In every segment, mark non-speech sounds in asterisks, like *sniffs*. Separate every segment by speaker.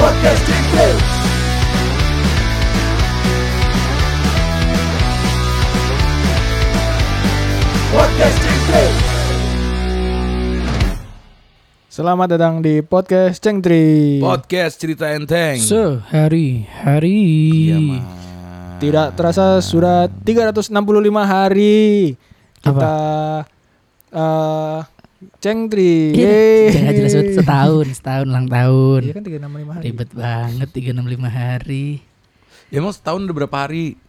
Speaker 1: Podcast Dikir Podcast Dikir
Speaker 2: Selamat datang di podcast Cengtri.
Speaker 3: Iya.
Speaker 4: Podcast cerita enteng.
Speaker 3: Eh, Sehari-hari.
Speaker 4: Iya, Mas.
Speaker 2: Tidak terasa sudah 365 hari kita eh Cengtri. Yeay.
Speaker 3: Jangan Iya. jelas banget, setahun, setahun ulang tahun.
Speaker 2: Iya kan 365 hari.
Speaker 3: Ribet banget 365 hari.
Speaker 4: Ya, emang setahun udah berapa hari?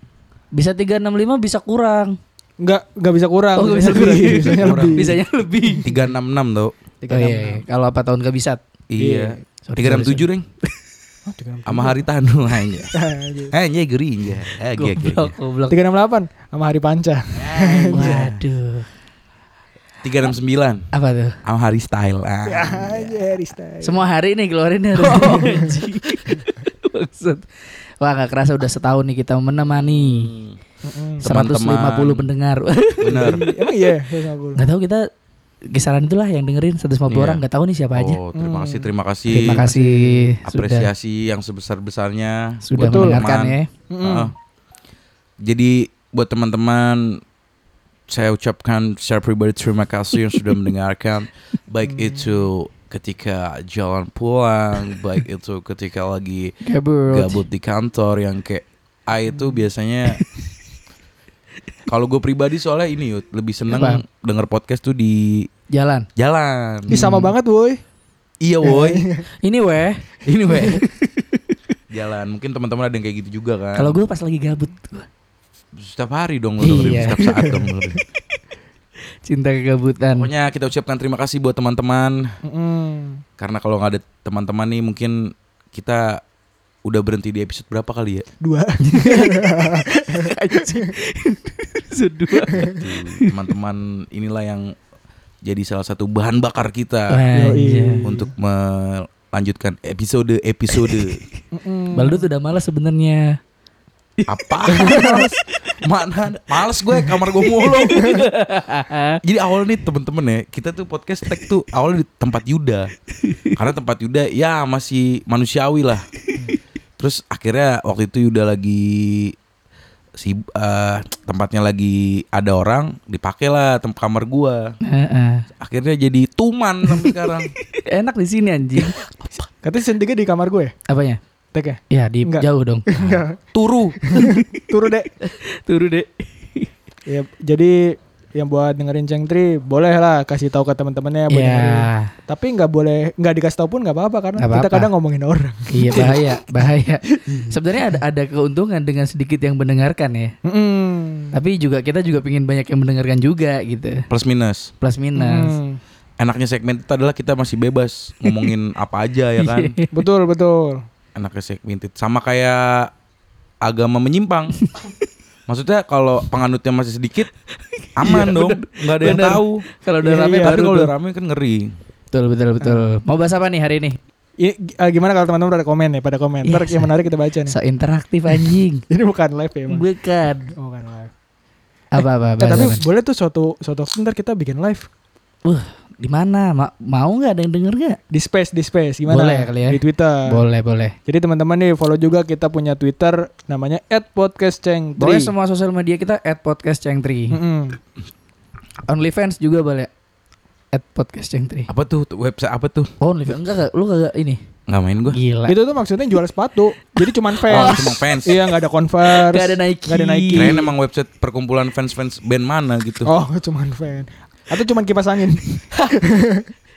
Speaker 3: Bisa 365 bisa kurang.
Speaker 2: Enggak enggak bisa kurang.
Speaker 3: Oh, nggak bisa
Speaker 2: Lebih,
Speaker 3: kurang.
Speaker 2: Biasanya
Speaker 4: Kurang.
Speaker 2: *laughs* lebih.
Speaker 3: *laughs* Bisanya lebih.
Speaker 4: 366 tau.
Speaker 3: Oh, iya. Kalau apa tahun gak bisa?
Speaker 4: Iya.
Speaker 3: Sorry, Iya.
Speaker 4: 367, Reng. Sama hari Tanu
Speaker 3: *laughs*
Speaker 4: aja.
Speaker 2: 368.
Speaker 4: Hanya geri aja. Eh, ge- ge- ge.
Speaker 3: Goblok, goblok.
Speaker 2: sama hari panca.
Speaker 3: Waduh.
Speaker 4: 369
Speaker 3: Apa tuh?
Speaker 4: sama hari style. Ah.
Speaker 2: Aja Rista.
Speaker 3: Semua hari nih keluarin hari.
Speaker 2: Oh.
Speaker 3: ini. *laughs* Maksud. Wah gak kerasa udah setahun nih kita menemani
Speaker 2: Mm-mm.
Speaker 3: 150 pendengar
Speaker 4: Bener.
Speaker 2: Emang iya 150.
Speaker 3: Gak tahu kita kisaran itulah yang dengerin
Speaker 4: Iya.
Speaker 3: 150 orang Gak tahu nih siapa aja Hmm.
Speaker 4: Oh, terima kasih, terima kasih.
Speaker 3: Terima kasih sudah
Speaker 4: Apresiasi yang sebesar-besarnya buat
Speaker 3: sudah mendengarkan
Speaker 4: teman.
Speaker 3: ya.
Speaker 2: Mm-mm.
Speaker 4: Heeh. Hmm. Jadi buat teman-teman saya ucapkan secara pribadi terima kasih yang
Speaker 3: *laughs*
Speaker 4: sudah mendengarkan baik itu ketika jalan pulang,
Speaker 3: *laughs*
Speaker 4: baik itu ketika lagi
Speaker 3: Kabur.
Speaker 4: gabut di kantor yang kayak A itu
Speaker 3: Hmm. *laughs*
Speaker 4: biasanya kalau gue pribadi soalnya ini Yud, lebih seneng
Speaker 3: Apa?
Speaker 4: denger podcast tuh di
Speaker 3: Jalan.
Speaker 4: jalan.
Speaker 2: Ih sama
Speaker 3: Hmm.
Speaker 2: banget woi.
Speaker 4: Iya
Speaker 3: *laughs*
Speaker 4: woi.
Speaker 3: Ini weh.
Speaker 4: *laughs* ini weh. jalan. Mungkin teman-teman ada yang kayak gitu juga kan.
Speaker 3: Kalau gue pas lagi gabut, gua
Speaker 4: setiap hari dong lu dengerin,
Speaker 3: Iya.
Speaker 4: setiap saat dong lu dengerin.
Speaker 3: cinta kegabutan. *laughs*
Speaker 4: Pokoknya kita ucapkan terima kasih buat teman-teman
Speaker 2: Mm-mm.
Speaker 4: karena kalau nggak ada teman-teman nih mungkin kita udah berhenti di episode berapa kali ya?
Speaker 2: Dua.
Speaker 3: *laughs* Sedua.
Speaker 4: Tuh, teman-teman inilah yang jadi salah satu bahan bakar kita
Speaker 3: Nah. iya.
Speaker 4: untuk melanjutkan episode-episode
Speaker 2: Mm-mm.
Speaker 3: Baldut udah malas sebenarnya.
Speaker 4: apa? Males. Mana? Males gue kamar gue mulu. Jadi awalnya nih temen-temen ya Kita tuh podcast tag tuh awalnya di tempat Yuda Karena tempat Yuda ya masih manusiawi lah Terus akhirnya waktu itu Yuda lagi si eh, tempatnya lagi ada orang dipakailah tempat kamar gua
Speaker 3: Heeh.
Speaker 4: akhirnya jadi tuman sampai sekarang
Speaker 3: Enak di sini anjing.
Speaker 2: Katanya season 3 di kamar gue.
Speaker 3: *laughs* Apanya?
Speaker 2: Tek ya.
Speaker 3: Ya di
Speaker 2: Enggak.
Speaker 3: jauh dong.
Speaker 4: turu
Speaker 2: Turu dek.
Speaker 3: *laughs* Turu deh.
Speaker 2: Ya, jadi yang buat dengerin Ceng Tri boleh lah kasih tahu ke teman-temannya buat dengerin.
Speaker 3: Iya.
Speaker 2: Tapi nggak boleh nggak dikasih tahu pun nggak apa-apa karena
Speaker 3: Nggak
Speaker 2: kita
Speaker 3: apa-apa.
Speaker 2: kadang ngomongin orang.
Speaker 3: Iya *laughs* bahaya, bahaya. Sebenarnya ada ada keuntungan dengan sedikit yang mendengarkan ya.
Speaker 2: Mm-mm.
Speaker 3: Tapi juga kita juga pingin banyak yang mendengarkan juga gitu.
Speaker 4: plus minus
Speaker 3: Plus minus.
Speaker 2: Mm.
Speaker 4: enaknya segmen itu adalah kita masih bebas ngomongin apa aja ya kan
Speaker 2: Betul betul.
Speaker 4: anaknya segmented sama kayak agama menyimpang maksudnya kalau penganutnya masih sedikit aman dong nggak ada yang
Speaker 3: bener.
Speaker 4: tahu Eh,
Speaker 3: Kalau udah
Speaker 2: Iya,
Speaker 3: rame
Speaker 2: iya,
Speaker 4: tapi
Speaker 3: baru
Speaker 4: kalau
Speaker 3: tuh.
Speaker 4: udah rame kan ngeri
Speaker 3: Betul betul betul. Mau bahas apa nih hari ini?
Speaker 2: Ini gi- eh, gimana kalau teman-teman ada komen ya pada komen. Ntar
Speaker 3: Iya,
Speaker 2: yang
Speaker 3: say.
Speaker 2: menarik kita baca nih.
Speaker 3: So interaktif anjing.
Speaker 2: Ini bukan live ya emang.
Speaker 3: Bukan.
Speaker 2: Bukan live.
Speaker 3: Apa apa?
Speaker 2: Eh, tapi
Speaker 3: bahas apa?
Speaker 2: boleh tuh suatu suatu waktu ntar kita bikin live
Speaker 3: di mana? Ma- mau nggak ada yang denger nggak?
Speaker 2: di space di space gimana?
Speaker 3: Boleh kali ya.
Speaker 2: Di Twitter.
Speaker 3: Boleh boleh.
Speaker 2: Jadi teman-teman nih follow juga kita punya Twitter namanya @podcastceng3.
Speaker 3: Boleh semua sosial media kita at podcast cengtri.
Speaker 2: Mm-mm.
Speaker 3: OnlyFans juga boleh at podcast cengtri.
Speaker 4: apa tuh website apa tuh
Speaker 3: Oh, OnlyFans enggak enggak lu kagak ini.
Speaker 4: nggak main gua
Speaker 3: Gila.
Speaker 2: Itu tuh maksudnya jual sepatu. Jadi cuman
Speaker 4: oh
Speaker 2: fans.
Speaker 4: cuma fans
Speaker 2: Iya nggak ada Converse.
Speaker 3: Nggak ada Nike.
Speaker 2: Nggak ada Nike.
Speaker 4: kirain emang website perkumpulan fans fans band mana gitu
Speaker 2: Oh cuman fan. Atau cuman kipas *laughs* angin.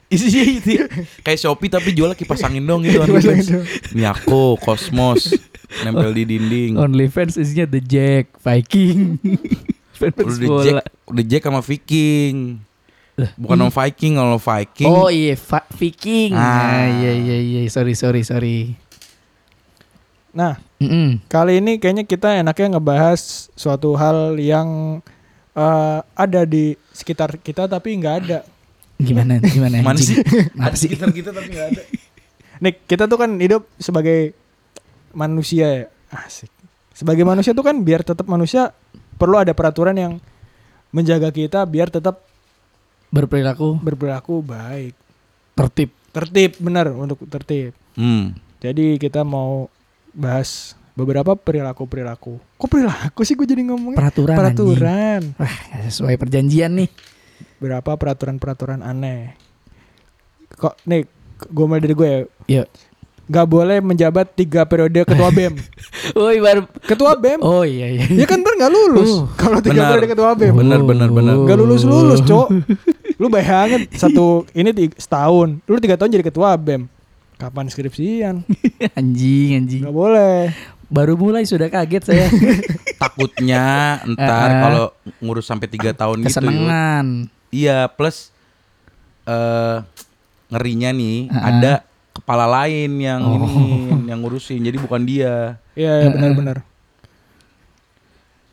Speaker 4: isinya itu ya. kayak shopee tapi jualnya kipas angin dong gitu
Speaker 2: Kipas angin doang.
Speaker 4: Miyako Cosmos nempel di dinding
Speaker 3: Oh, OnlyFans isinya The Jack, Viking. *laughs*
Speaker 4: udah
Speaker 3: Fans
Speaker 4: di
Speaker 3: bola.
Speaker 4: Jack udah Jack sama Viking bukan sama Viking kalau Viking *laughs*
Speaker 3: Oh iya, Fa- Viking.
Speaker 4: Ah.
Speaker 3: Ah, iya iya iya, sorry sorry sorry.
Speaker 2: Nah
Speaker 3: Mm-mm.
Speaker 2: kali ini kayaknya kita enaknya ngebahas suatu hal yang eh, ada di sekitar kita tapi nggak ada.
Speaker 3: Gimana gimana
Speaker 4: Mana sih?
Speaker 3: anjing? *laughs* Apa sih?
Speaker 4: sekitar kita tapi nggak ada
Speaker 2: Nih kita tuh kan hidup sebagai manusia ya. Asik. Sebagai manusia tuh kan biar tetap manusia perlu ada peraturan yang menjaga kita biar tetap
Speaker 3: Berperilaku
Speaker 2: berperilaku baik.
Speaker 3: tertib.
Speaker 2: Tertib benar untuk tertib.
Speaker 4: Hmm.
Speaker 2: Jadi kita mau bahas beberapa perilaku-perilaku. Kok perilaku sih gue jadi ngomongnya?
Speaker 3: Peraturan. anjing.
Speaker 2: Peraturan.
Speaker 3: Wah, nggak sesuai perjanjian nih.
Speaker 2: Berapa peraturan-peraturan aneh. Kok nih gue mulai dari gue ya.
Speaker 3: Iya.
Speaker 2: Gak boleh menjabat tiga periode ketua
Speaker 3: *laughs*
Speaker 2: BEM.
Speaker 3: Woi, baru
Speaker 2: Ketua BEM.
Speaker 3: Oh iya iya.
Speaker 2: Ya kan ntar gak lulus
Speaker 3: Uh,
Speaker 2: kalau tiga
Speaker 4: benar.
Speaker 2: periode ketua BEM.
Speaker 4: Benar, benar, benar.
Speaker 3: Oh.
Speaker 2: Gak lulus lulus, cok. Lu bayangin satu ini tiga, setahun, lu tiga tahun jadi ketua bem. Kapan
Speaker 3: *laughs*
Speaker 2: skripsian?
Speaker 3: *laughs* anjing, anjing.
Speaker 2: Gak boleh.
Speaker 3: Baru mulai sudah kaget saya.
Speaker 4: Takutnya ntar
Speaker 3: *laughs* Eh, eh.
Speaker 4: kalau ngurus sampai tiga tahun gitu. Yud.
Speaker 3: Kesenangan.
Speaker 4: Iya, plus eh ngerinya nih
Speaker 3: Eh, Oh. eh.
Speaker 4: ada kepala lain yang ini *laughs* yang ngurusin. Jadi bukan dia.
Speaker 2: Iya, ya, benar-benar.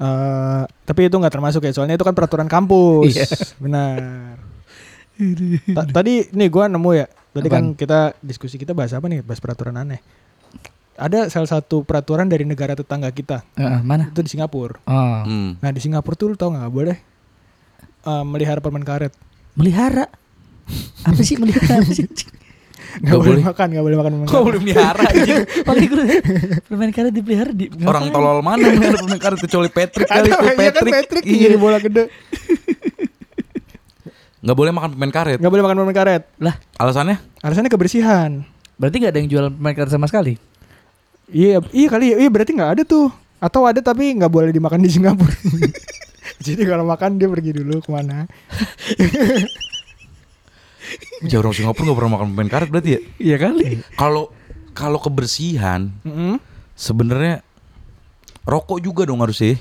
Speaker 2: Eh, tapi itu nggak termasuk ya, soalnya itu kan peraturan kampus.
Speaker 3: Iya.
Speaker 2: Benar. Ta- Tadi nih gua nemu ya. Tadi kan
Speaker 3: Apaan?
Speaker 2: kita diskusi kita bahas apa nih? Bahas peraturan aneh. Ada salah satu peraturan dari negara tetangga kita,
Speaker 3: Heeh, mana?
Speaker 2: itu di Singapura.
Speaker 3: Oh,
Speaker 4: Hmm.
Speaker 2: Nah, di Singapura tuh lu tau nggak nggak boleh eh, melihara permen karet.
Speaker 3: melihara. Apa sih melihara? Apa sih?
Speaker 2: Gak, boleh makan, gak boleh makan. permen
Speaker 4: Kok
Speaker 2: karet.
Speaker 4: belum
Speaker 3: *laughs*
Speaker 4: melihara anjing?
Speaker 3: Pakai gue permen karet dipelihara di
Speaker 4: Orang
Speaker 3: ngapain?
Speaker 4: tolol mana yang melihara permen karet kecuali Patrick kali
Speaker 2: Ada
Speaker 4: itu
Speaker 2: iya kan Patrick yang
Speaker 4: Iya.
Speaker 2: jadi bola gede.
Speaker 4: Nggak boleh makan permen karet.
Speaker 2: Gak boleh makan permen karet.
Speaker 3: Lah,
Speaker 4: Alasannya?
Speaker 2: Alasannya kebersihan.
Speaker 3: berarti nggak ada yang jualan permen karet sama sekali?
Speaker 2: Iya, iya kali. ya. Iya berarti nggak ada tuh. Atau ada tapi nggak boleh dimakan di Singapura. *laughs* jadi kalau makan dia pergi dulu kemana?
Speaker 4: Ya orang Singapura nggak pernah makan permen karet berarti ya.
Speaker 3: Iya kali.
Speaker 4: Kalau kalau kebersihan
Speaker 2: Mm-mm.
Speaker 4: sebenarnya rokok juga dong harus sih.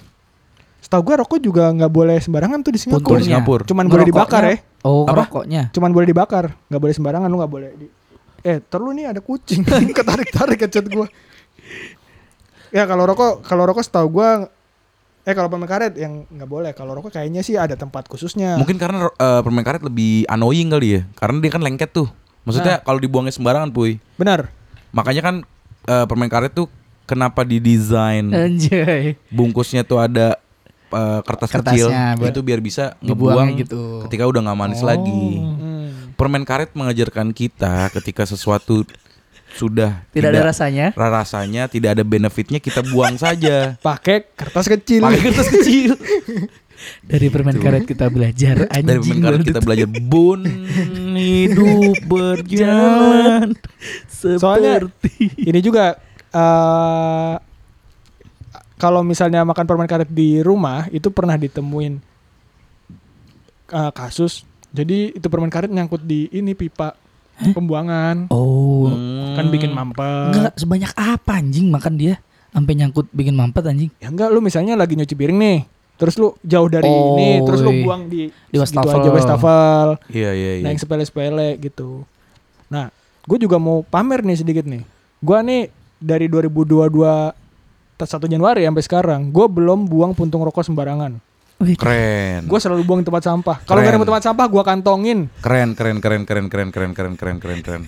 Speaker 2: Setahu gua rokok juga nggak boleh sembarangan tuh di Singapura.
Speaker 4: Di Singapura.
Speaker 2: Cuman boleh dibakar ya.
Speaker 3: Oh,
Speaker 4: Apa?
Speaker 3: rokoknya.
Speaker 2: Cuman boleh dibakar. Nggak boleh sembarangan lu nggak boleh. Di- Eh, terlu nih ada kucing *laughs* ketarik-tarik ke chat gua. Ya kalau rokok, kalau rokok setahu gua eh kalau permen karet yang nggak boleh. Kalau rokok kayaknya sih ada tempat khususnya.
Speaker 4: Mungkin karena eh, permen karet lebih annoying kali ya. Karena dia kan lengket tuh. Maksudnya kalau dibuangnya sembarangan, Puy.
Speaker 2: Benar.
Speaker 4: Makanya kan eh, permen karet tuh kenapa didesain
Speaker 3: Eh. Anjay.
Speaker 4: bungkusnya tuh ada eh, kertas kecil
Speaker 3: Kertasnya, buat
Speaker 4: itu biar bisa
Speaker 3: dibuangnya
Speaker 4: ngebuang
Speaker 3: gitu.
Speaker 4: ketika udah nggak manis
Speaker 3: Oh.
Speaker 4: lagi.
Speaker 2: Hmm.
Speaker 4: Permen karet mengajarkan kita ketika sesuatu sudah
Speaker 3: Tidak, ada rasanya.
Speaker 4: rasanya tidak ada benefitnya kita buang
Speaker 3: *laughs*
Speaker 4: saja.
Speaker 2: Pakai kertas kecil.
Speaker 4: Pakai kertas kecil.
Speaker 3: Dari permen karet kita belajar anjing.
Speaker 4: Gitu. Dari permen karet
Speaker 3: banget.
Speaker 4: kita belajar
Speaker 3: *laughs*
Speaker 4: bun hidup berjalan.
Speaker 2: Soalnya
Speaker 3: seperti
Speaker 2: *laughs* ini juga eh kalau misalnya makan permen karet di rumah itu pernah ditemuin eh, kasus. Jadi itu permen karet nyangkut di ini pipa pembuangan
Speaker 3: Oh,
Speaker 4: Hmm.
Speaker 2: kan bikin mampet.
Speaker 3: enggak sebanyak apa anjing makan dia sampai nyangkut bikin mampet anjing.
Speaker 2: Ya enggak lu misalnya lagi nyuci piring nih. Terus lu jauh dari
Speaker 3: Oh,
Speaker 2: ini, terus lu
Speaker 3: iya.
Speaker 2: buang di
Speaker 3: Di
Speaker 2: segitu
Speaker 3: wastafel.
Speaker 2: aja wastafel.
Speaker 4: Iya iya iya.
Speaker 2: Nah yang sepele-sepele gitu. Nah, gue juga mau pamer nih sedikit nih. Gue nih dari 2022 ta- 1 Januari sampai sekarang, gue belum buang puntung rokok sembarangan.
Speaker 3: Wih,
Speaker 4: Keren.
Speaker 2: Gue selalu buang di tempat sampah. Kalau
Speaker 4: Hmm. Keren.
Speaker 2: nggak ada tempat sampah, gue kantongin
Speaker 4: Keren keren keren keren keren keren keren keren keren keren.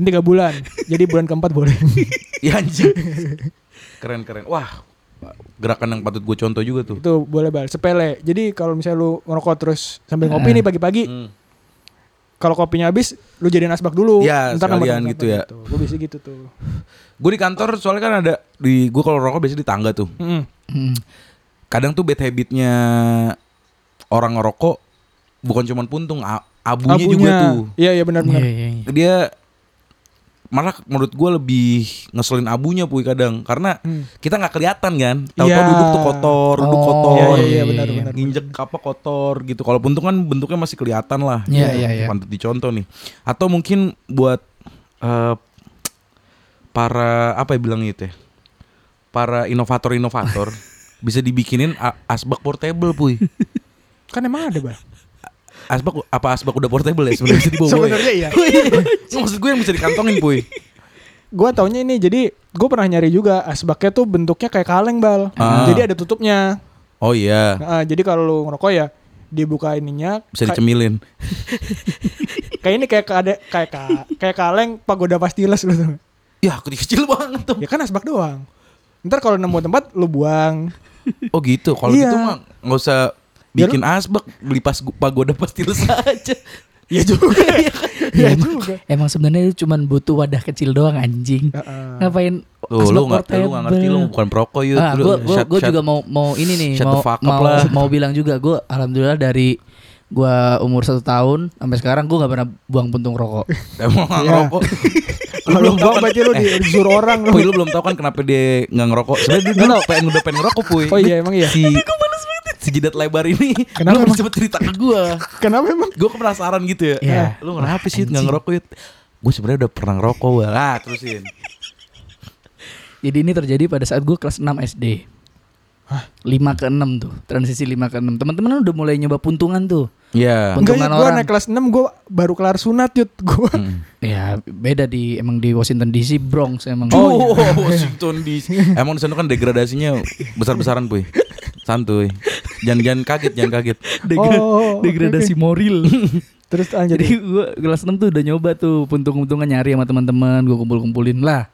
Speaker 2: Ini tiga bulan. Jadi bulan keempat
Speaker 4: *laughs*
Speaker 2: boleh.
Speaker 4: Ya anjing. Keren keren. Wah. Gerakan yang patut gue contoh juga tuh.
Speaker 2: Itu boleh bal. Sepele. Jadi kalau misalnya lu ngerokok terus sambil ngopi nih pagi-pagi,
Speaker 4: Hmm.
Speaker 2: kalau kopinya habis, lu jadiin asbak dulu.
Speaker 4: Ya, sekalian
Speaker 2: teman-teman
Speaker 4: gitu ya.
Speaker 2: Gue bisa gitu tuh.
Speaker 4: Gue di kantor soalnya kan ada di gue kalau rokok biasanya di tangga tuh.
Speaker 2: Mm-mm.
Speaker 3: Hmm.
Speaker 4: Kadang tuh bad habitnya orang ngerokok bukan cuman puntung, a- abunya, juga
Speaker 2: Abunya.
Speaker 4: tuh.
Speaker 2: Iya, iya benar-benar.
Speaker 3: Iya, iya, iya.
Speaker 4: dia malah menurut gue lebih ngeselin abunya puy kadang karena
Speaker 2: Hmm.
Speaker 4: kita nggak kelihatan kan tahu-tahu
Speaker 2: Iya.
Speaker 4: duduk tuh kotor duduk
Speaker 3: Oh,
Speaker 4: kotor
Speaker 2: Iya, iya, iya,
Speaker 3: *laughs*
Speaker 2: benar-benar.
Speaker 4: nginjek apa kotor gitu kalau puntung kan bentuknya masih kelihatan lah
Speaker 3: Iya,
Speaker 4: Gitu.
Speaker 3: iya, iya.
Speaker 4: patut dicontoh nih atau mungkin buat eh, para apa ya bilang gitu ya para inovator-inovator bisa dibikinin a- asbak portable puy
Speaker 2: Kan emang ada, Bal.
Speaker 4: asbak apa asbak udah portable ya sebenarnya bisa dibawa ya?
Speaker 2: Sebenarnya iya.
Speaker 4: maksud gue yang bisa dikantongin puy
Speaker 2: Gua taunya ini jadi gue pernah nyari juga asbaknya tuh bentuknya kayak kaleng bal
Speaker 4: Ah.
Speaker 2: jadi ada tutupnya
Speaker 4: oh iya
Speaker 2: Nah, jadi kalau lu ngerokok ya dibuka ininya
Speaker 4: bisa
Speaker 2: kayak-
Speaker 4: dicemilin.
Speaker 2: kayak ini kayak ada kayak ka- kayak kaleng pagoda pastiles lu tuh
Speaker 4: Ya, kecil banget tuh.
Speaker 2: ya kan asbak doang ntar kalau nemu tempat lu buang
Speaker 4: Oh gitu. Kalau
Speaker 2: Iya.
Speaker 4: gitu mah nggak usah
Speaker 2: Ya
Speaker 4: bikin asbak, beli pas pagoda pasti aja.
Speaker 2: Iya juga. Iya juga.
Speaker 3: Emang sebenarnya itu cuman butuh wadah kecil doang anjing.
Speaker 2: Heeh.
Speaker 3: Ngapain?
Speaker 4: Iya. Tuh,
Speaker 3: as
Speaker 4: lu nggak
Speaker 3: portable.
Speaker 4: lu nggak ngerti lu bukan perokok yuk.
Speaker 3: Ah,
Speaker 4: Lu
Speaker 3: gue gue
Speaker 4: shut-
Speaker 3: gue
Speaker 4: shut-
Speaker 3: juga mau mau ini nih
Speaker 4: shut the
Speaker 3: mau
Speaker 4: fuck up
Speaker 3: mau,
Speaker 4: lah.
Speaker 3: mau bilang juga gue alhamdulillah dari gue umur satu tahun sampai sekarang gue nggak pernah buang puntung
Speaker 2: *laughs*
Speaker 3: rokok.
Speaker 4: *laughs* Emang nggak
Speaker 2: Iya.
Speaker 4: ngerokok. Lu
Speaker 2: Kalau
Speaker 4: belum
Speaker 2: bang
Speaker 4: tahu kan?
Speaker 2: berarti lu
Speaker 4: Eh,
Speaker 2: disuruh orang lu.
Speaker 4: Puy lu belum tahu kan kenapa dia nggak ngerokok? Sebenarnya dia dulu pengen udah pengen ngerokok Puy.
Speaker 2: Oh iya emang iya.
Speaker 4: Si si jidat lebar ini
Speaker 2: Kenapa
Speaker 4: lu
Speaker 2: emang?
Speaker 4: harus cepet cerita ke gua.
Speaker 2: Kenapa emang?
Speaker 4: Gue penasaran gitu ya.
Speaker 3: Iya.
Speaker 4: Eh, Lu kenapa sih nggak ngerokok yuk? Gue sebenarnya udah pernah ngerokok Wah, Lah terusin.
Speaker 3: Jadi ini terjadi pada saat gue kelas 6 SD.
Speaker 2: Hah?
Speaker 3: 5 ke 6 tuh, transisi 5 ke 6. Teman-teman udah mulai nyoba puntungan tuh.
Speaker 4: Iya.
Speaker 3: Puntungan
Speaker 2: Enggak, gue
Speaker 3: orang.
Speaker 2: naik kelas 6 gue baru kelar sunat yut gue.
Speaker 4: Mm.
Speaker 3: Ya, beda di emang di Washington DC Bronx emang.
Speaker 4: Oh, *laughs* Washington DC. Emang di sana kan degradasinya besar-besaran, Puy. Santuy. Jangan jangan kaget, jangan kaget.
Speaker 3: Degra-
Speaker 2: Oh, oke,
Speaker 3: degradasi moral.
Speaker 2: *laughs* *laughs* Terus ah,
Speaker 3: *laughs* Jadi
Speaker 2: jadi
Speaker 3: gue kelas 6 tuh udah nyoba tuh puntung-puntungan nyari sama teman-teman, gue kumpul-kumpulin lah.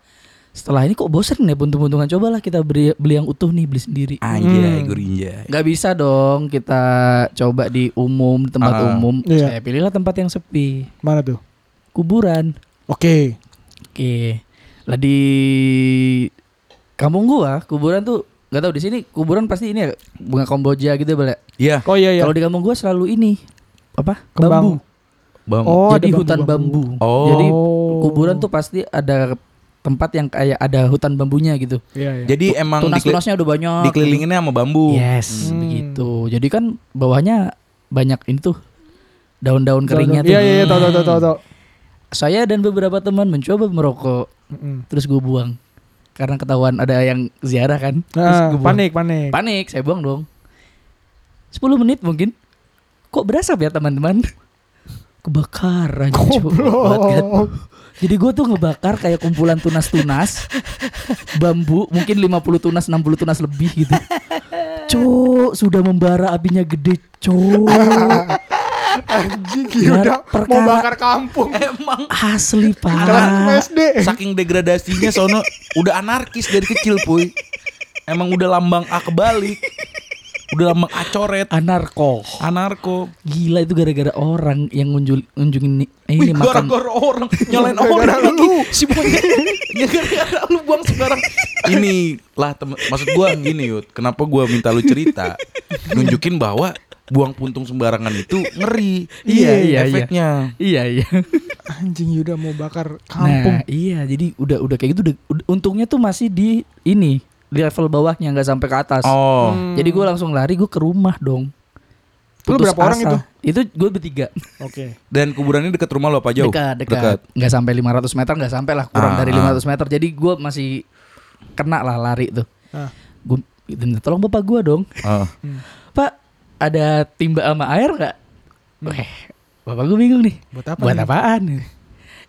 Speaker 3: Setelah ini kok bosen ya puntung-puntungan, cobalah kita beri- beli yang utuh nih, beli sendiri.
Speaker 4: Anjay, gurinjay.
Speaker 3: Gak bisa dong kita coba di umum, tempat
Speaker 4: Ah.
Speaker 3: umum.
Speaker 2: Iya.
Speaker 3: Saya pilihlah tempat yang sepi,
Speaker 2: mana tuh?
Speaker 3: kuburan.
Speaker 2: Oke.
Speaker 3: Oke. Lah di kampung gua, kuburan tuh nggak tahu di sini kuburan pasti ini ya bunga komboja gitu ya, Bala.
Speaker 4: Iya,
Speaker 2: Oh iya iya.
Speaker 3: Kalau di kampung gua selalu ini apa?
Speaker 2: Kembang.
Speaker 3: Bambu.
Speaker 4: Bang.
Speaker 2: Oh,
Speaker 3: Jadi
Speaker 2: ada
Speaker 3: hutan bambu.
Speaker 2: bambu-bambu.
Speaker 4: Oh.
Speaker 3: Jadi kuburan tuh pasti ada tempat yang kayak ada hutan bambunya gitu.
Speaker 2: Iya iya.
Speaker 4: Jadi emang dikeli-
Speaker 3: Tunas-tunasnya udah banyak.
Speaker 4: dikelilinginnya sama bambu.
Speaker 3: Yes,
Speaker 2: Hmm.
Speaker 3: begitu. Jadi kan bawahnya banyak ini tuh daun-daun keringnya tuh.
Speaker 2: Iya iya iya, tahu tahu tahu tahu, tahu.
Speaker 3: Saya dan beberapa teman mencoba merokok,
Speaker 2: Mm-mm.
Speaker 3: terus gue buang karena ketahuan ada yang ziarah kan. Terus
Speaker 2: Nah,
Speaker 3: gua buang.
Speaker 2: panik panik.
Speaker 3: Panik, saya buang dong. 10 menit mungkin. Kok berasap ya teman-teman? Kebakaran. cuy. Obat kan.
Speaker 2: Goblok.
Speaker 3: Jadi gue tuh ngebakar kayak kumpulan tunas-tunas Bambu mungkin 50 tunas 60 tunas lebih gitu Cuk sudah membara apinya gede cuk
Speaker 2: Anjing udah mau
Speaker 3: perkara- Ah.
Speaker 2: bakar kampung.
Speaker 4: Emang
Speaker 3: Asli
Speaker 2: Kelas
Speaker 3: parah
Speaker 2: SD.
Speaker 4: saking degradasinya sono udah anarkis dari kecil, Puy. Emang udah lambang A kebalik. Udah lambang A coret,
Speaker 3: Anarko
Speaker 4: anarko.
Speaker 3: Gila itu gara-gara orang yang ngunjul, ngunjungin ni- ini
Speaker 4: Wih,
Speaker 3: makan
Speaker 4: gara-gara orang nyalain
Speaker 2: Gara-gara
Speaker 4: orang lagi
Speaker 2: lu.
Speaker 4: si bonyok ya *laughs* gara-gara lu buang sembarang ini lah temen maksud gua gini yud kenapa gua minta lu cerita nunjukin bahwa buang puntung sembarangan itu ngeri
Speaker 3: Iya, iya, iya.
Speaker 4: efeknya
Speaker 3: Iya iya
Speaker 2: *laughs* Anjing Yuda mau bakar
Speaker 3: Nah
Speaker 2: kampung.
Speaker 3: iya jadi udah udah kayak gitu udah- udah- Untungnya tuh masih di ini Di level bawahnya nggak sampai ke atas
Speaker 4: oh
Speaker 2: Hmm.
Speaker 3: Jadi gue langsung lari gue ke rumah dong
Speaker 2: Lu
Speaker 3: Putus
Speaker 2: berapa orang itu?
Speaker 3: Itu gue bertiga
Speaker 2: Oke.
Speaker 4: dan kuburannya dekat rumah lu apa jauh
Speaker 3: Dekat, dekat. Nggak sampai 500 meter, nggak sampai lah kurang
Speaker 4: Ah,
Speaker 3: dari
Speaker 4: ah.
Speaker 3: 500 meter. Jadi gue masih kena lah lari tuh.
Speaker 2: Ah.
Speaker 3: Gue minta tolong bapak gue dong.
Speaker 4: Ah.
Speaker 3: Pak, ada timba sama air nggak? Weh, bapak gue bingung nih.
Speaker 2: Buat Hmm. apa?
Speaker 3: Buat
Speaker 2: nih?
Speaker 3: apaan?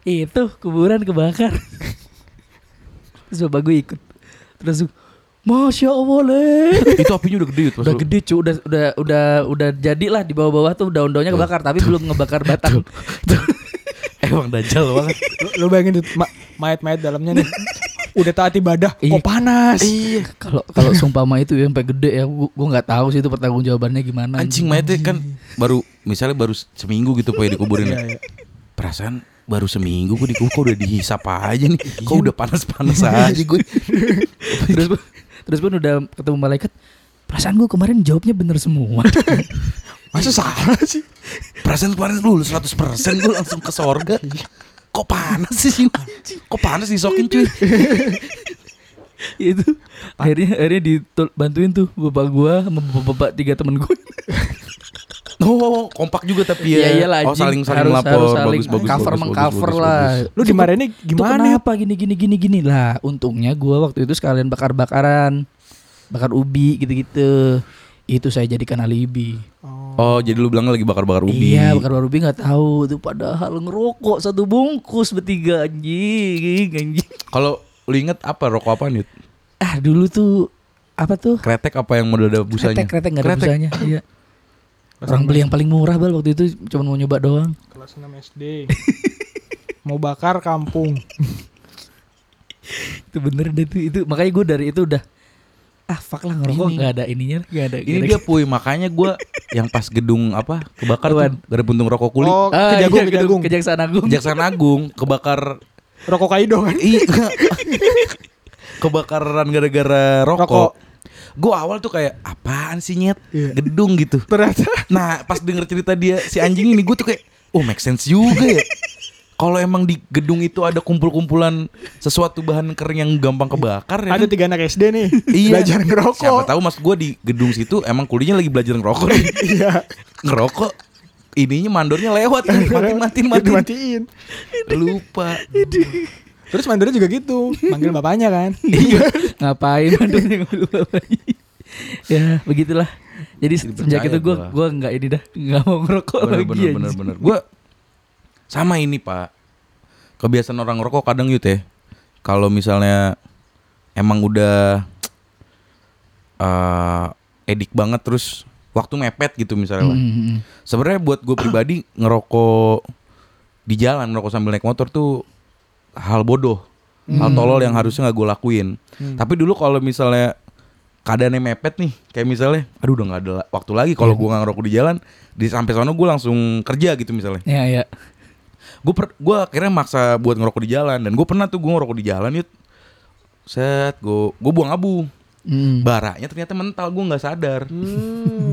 Speaker 3: Itu kuburan
Speaker 2: *laughs*
Speaker 3: kebakar. Terus bapak gue ikut. Terus gua, Masya Allah leh. *laughs*
Speaker 4: itu apinya udah gede gitu, Yud, pas
Speaker 3: Udah
Speaker 4: lu-
Speaker 3: gede *laughs* cu, udah udah udah udah jadilah di bawah-bawah tuh daun-daunnya kebakar, tapi belum *laughs* ngebakar batang.
Speaker 4: emang dajal banget
Speaker 2: Lu, lu bayangin tuh ma- mayat-mayat dalamnya
Speaker 3: *laughs*
Speaker 2: nih. Udah taat ibadah, kok
Speaker 3: Iya.
Speaker 2: panas.
Speaker 3: Iya, kalau kalau sumpama itu ya sampai gede ya, gua gua nggak tahu sih itu pertanggung jawabannya gimana.
Speaker 4: anjing mayatnya kan baru misalnya baru seminggu gitu Poy dikuburin ya.
Speaker 2: Iya, iya.
Speaker 4: perasaan baru seminggu gue dikubur kok udah dihisap aja nih
Speaker 3: Iya.
Speaker 4: kok udah panas-panas aja gue
Speaker 3: terus pun- terus pun udah ketemu malaikat. Perasaan gue kemarin jawabnya bener semua. *laughs*
Speaker 2: Masa salah sih?
Speaker 4: perasaan kemarin lu 100% gue langsung ke sorga kok panas sih sini kok panas disokin cuy
Speaker 3: itu akhirnya akhirnya dibantuin tuh bapak gua sama bapak tiga temen gue.
Speaker 4: oh kompak juga tapi ya
Speaker 3: Iya,
Speaker 4: oh saling saling lapor bagus bagus bagus,
Speaker 3: cover
Speaker 4: bagus,
Speaker 3: mengcover
Speaker 4: bagus,
Speaker 3: lah.
Speaker 4: bagus.
Speaker 2: Lu dimarahinnya
Speaker 3: Itu
Speaker 2: gimana?
Speaker 3: kenapa gini gini gini gini lah. Untungnya gua waktu itu sekalian bakar-bakaran, bakar ubi gitu-gitu. Itu saya jadikan alibi.
Speaker 4: oh jadi lu bilang lagi bakar bakar ubi
Speaker 3: Iya, bakar baru ubi nggak tahu tuh padahal ngerokok satu bungkus bertiga anjing, anjing.
Speaker 4: kalau lu inget apa rokok apa nih
Speaker 3: Ah, dulu tuh apa tuh?
Speaker 4: kretek apa yang model ada busanya
Speaker 3: Kretek, kretek nggak ada busanya. Iya. Orang beli yang paling murah bal waktu itu cuma mau nyoba doang.
Speaker 2: Kelas 6
Speaker 3: *laughs*
Speaker 2: SD. mau bakar kampung.
Speaker 3: Itu bener deh itu, itu. makanya gue dari itu udah ah fuck lah ngerokok
Speaker 4: Ini.
Speaker 3: nggak ada ininya nggak ada
Speaker 4: ini dia puy makanya gue yang pas gedung apa kebakar tuh ada puntung rokok kulit
Speaker 2: Oh,
Speaker 3: Ah,
Speaker 2: kejagung,
Speaker 3: iya,
Speaker 2: kejagung.
Speaker 3: Kejaksaan Agung.
Speaker 4: Kejaksaan Agung kebakar
Speaker 2: Rokok Kaido kan?
Speaker 4: Iya. *laughs* Kebakaran gara-gara
Speaker 2: Rokok.
Speaker 4: rokok. Gue awal tuh kayak apaan sih nyet
Speaker 2: Iya.
Speaker 4: gedung gitu.
Speaker 2: Ternyata
Speaker 4: Nah pas denger cerita dia si anjing ini gue tuh kayak oh make sense juga ya. Kalau emang di gedung itu ada kumpul-kumpulan sesuatu bahan kering yang gampang kebakar ya.
Speaker 2: ada
Speaker 4: kan?
Speaker 2: tiga anak SD nih
Speaker 4: *laughs* Iya.
Speaker 2: belajar ngerokok.
Speaker 4: Siapa
Speaker 2: *laughs*
Speaker 4: tahu mas gue di gedung situ emang kulinya lagi belajar ngerokok. nih.
Speaker 2: Iya.
Speaker 4: ngerokok ininya mandornya lewat kan matiin
Speaker 2: Jadi
Speaker 4: matiin matiin
Speaker 2: dimatiin. *laughs*
Speaker 4: lupa
Speaker 2: Terus mandornya juga gitu, manggil bapaknya kan.
Speaker 4: *laughs* iya
Speaker 3: *laughs* *laughs* ngapain mandornya ngobrol bapaknya. ya begitulah jadi sejak
Speaker 4: percaya
Speaker 3: itu gue
Speaker 4: gua.
Speaker 3: gue nggak ini dah nggak mau ngerokok
Speaker 4: bener
Speaker 3: lagi
Speaker 4: bener
Speaker 3: anjing.
Speaker 4: bener bener gue sama ini pak kebiasaan orang rokok kadang yut ya kalau misalnya emang udah eh edik banget terus waktu mepet gitu misalnya lah.
Speaker 3: Mm-mm.
Speaker 4: sebenarnya buat gue pribadi ngerokok di jalan ngerokok sambil naik motor tuh hal bodoh hal tolol yang harusnya nggak gue lakuin tapi dulu kalau misalnya keadaannya mepet nih kayak misalnya aduh udah nggak ada la- waktu lagi kalau gue nggak ngerokok di jalan di sampai sana gue langsung kerja gitu misalnya
Speaker 3: ya ya
Speaker 4: gue gue akhirnya maksa buat ngerokok di jalan dan gue pernah tuh gue ngerokok di jalan yut set gue gue buang abu
Speaker 3: Mm.
Speaker 4: baranya ternyata mental gue nggak sadar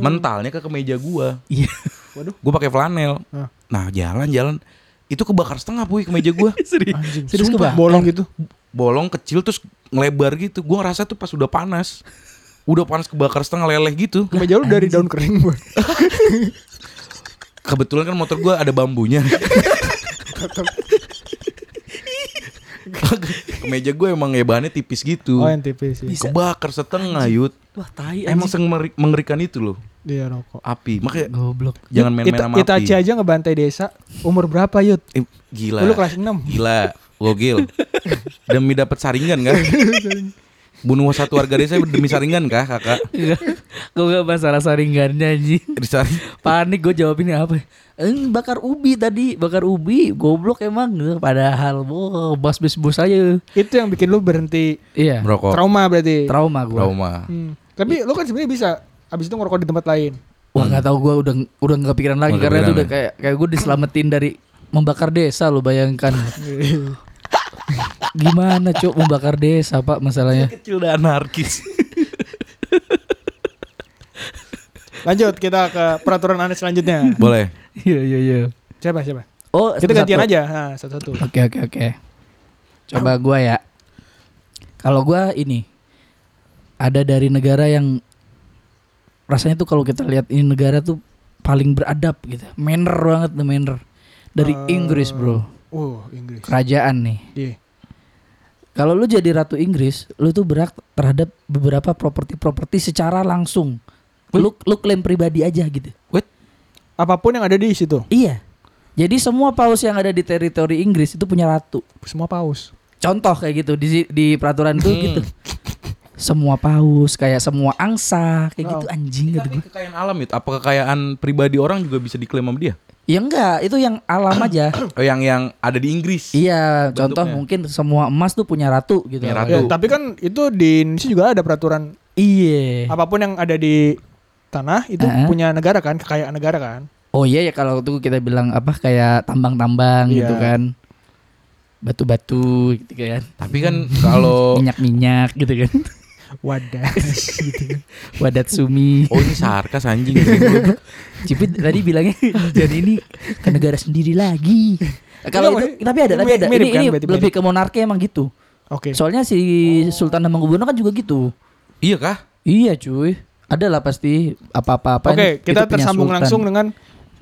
Speaker 4: mentalnya ke kemeja gue
Speaker 3: Hmm. iya
Speaker 4: gue pakai flanel
Speaker 2: Hah.
Speaker 4: nah jalan-jalan itu kebakar setengah puy kemeja gue
Speaker 3: *laughs* serius
Speaker 2: Anjing,
Speaker 3: serius
Speaker 2: sumpah,
Speaker 3: kebakar.
Speaker 2: bolong gitu.
Speaker 4: bolong kecil terus ngelebar gitu gue ngerasa tuh pas udah panas udah panas kebakar setengah leleh gitu
Speaker 2: Kemeja lu dari daun kering gue.
Speaker 4: kebetulan kan motor gue ada bambunya kemeja gue emang ya bahannya tipis gitu
Speaker 2: Oh, yang tipis sih.
Speaker 3: Bisa.
Speaker 4: kebakar setengah yut
Speaker 3: wah tai
Speaker 4: emang
Speaker 3: anjing.
Speaker 4: semengeri- mengerikan itu loh
Speaker 2: Dia rokok.
Speaker 4: api makanya
Speaker 3: goblok *laughs*
Speaker 4: jangan main-main
Speaker 2: Ita-
Speaker 4: sama api
Speaker 2: Itachi aja ngebantai desa. Umur berapa, Yud?
Speaker 4: Eh, gila
Speaker 2: Lu kelas 6.
Speaker 4: Gila, gokil. Demi dapat saringan kan? Bunuh satu warga desa demi saringan kah, Kakak?
Speaker 3: gue gak masalah saringannya anjing
Speaker 4: Disaring.
Speaker 3: panik gue jawabinnya apa eh, bakar ubi tadi bakar ubi goblok emang padahal wow, bas bas bos aja
Speaker 2: Itu yang bikin lu berhenti
Speaker 3: iya
Speaker 4: Merokok.
Speaker 2: Ya. trauma berarti.
Speaker 3: trauma gue
Speaker 4: Trauma.
Speaker 2: Hmm. Tapi lu kan sebenarnya bisa abis itu ngerokok di tempat lain.
Speaker 3: Wah nggak tahu gue udah udah nggak pikiran lagi
Speaker 4: Nggak
Speaker 3: karena itu
Speaker 4: kepikiran ya?
Speaker 3: udah kayak kayak gue diselamatin dari membakar desa lo
Speaker 4: *laughs*
Speaker 3: bayangkan. Gimana cok membakar desa pak masalahnya?
Speaker 4: Kecil dan anarkis.
Speaker 2: Lanjut kita ke peraturan aneh selanjutnya.
Speaker 4: Boleh.
Speaker 3: *laughs* Iya iya iya.
Speaker 2: Siapa siapa?
Speaker 3: Oh
Speaker 2: Kita gantian
Speaker 3: satu-satu.
Speaker 2: aja. Nah, satu-satu.
Speaker 4: *coughs*
Speaker 3: Oke oke oke. Coba gue ya. Kalau gue ini ada dari negara yang rasanya tuh kalau kita lihat ini negara tuh paling beradab gitu. Manner banget the manner. Dari
Speaker 2: Eh.
Speaker 3: Inggris bro,
Speaker 2: Oh, Inggris.
Speaker 3: kerajaan nih.
Speaker 2: Iya.
Speaker 3: Kalau lu jadi ratu Inggris, lu tuh berhak terhadap beberapa properti-properti secara langsung. Lu lu klaim pribadi aja gitu.
Speaker 4: Wait,
Speaker 2: Apapun yang ada di situ,
Speaker 3: Iya. Jadi semua paus yang ada di teritori Inggris itu punya ratu.
Speaker 2: semua paus.
Speaker 3: Contoh kayak gitu di di peraturan tuh
Speaker 4: Hmm.
Speaker 3: gitu. Semua paus, kayak semua angsa, kayak
Speaker 2: Wow.
Speaker 3: gitu
Speaker 4: Oh.
Speaker 3: anjing kata
Speaker 4: tapi
Speaker 3: gue.
Speaker 4: kekayaan alam itu apa kekayaan pribadi orang juga bisa diklaim sama dia?
Speaker 3: Ya enggak, itu yang alam
Speaker 4: *coughs*
Speaker 3: aja.
Speaker 4: Oh, yang yang ada di Inggris.
Speaker 3: iya, contoh
Speaker 4: Bentuknya.
Speaker 3: mungkin semua emas tuh punya ratu gitu.
Speaker 4: Punya
Speaker 2: Ya,
Speaker 4: ratu. Aduh.
Speaker 2: tapi kan itu di Indonesia juga ada peraturan
Speaker 3: Iya.
Speaker 2: apapun yang ada di tanah itu
Speaker 3: Ah.
Speaker 2: punya negara kan, kekayaan negara kan.
Speaker 3: Oh iya ya kalau itu kita bilang apa kayak tambang-tambang
Speaker 2: Iya.
Speaker 3: gitu kan. Batu-batu gitu kan.
Speaker 4: Tapi kan
Speaker 2: Oh.
Speaker 4: kalau
Speaker 3: Minyak-minyak gitu
Speaker 2: *laughs*
Speaker 3: kan. *laughs*
Speaker 2: Wadah. gitu.
Speaker 3: Wadat sumi.
Speaker 4: Oh ini sarkas anjing
Speaker 3: Cipit tadi bilangnya jadi ini ke negara sendiri lagi. Kalau
Speaker 2: Enggak,
Speaker 3: itu tapi ada tapi
Speaker 2: Eh, mirip-
Speaker 3: ada
Speaker 2: mirip
Speaker 3: ini,
Speaker 2: kan,
Speaker 3: ini
Speaker 2: berarti
Speaker 3: lebih ke monarki emang gitu.
Speaker 2: Oke.
Speaker 3: Soalnya si Sultan Hamengkubuwono kan juga gitu.
Speaker 4: Iya kah?
Speaker 3: Iya cuy. Ada lah pasti apa-apa apa.
Speaker 2: Oke, kita tersambung langsung dengan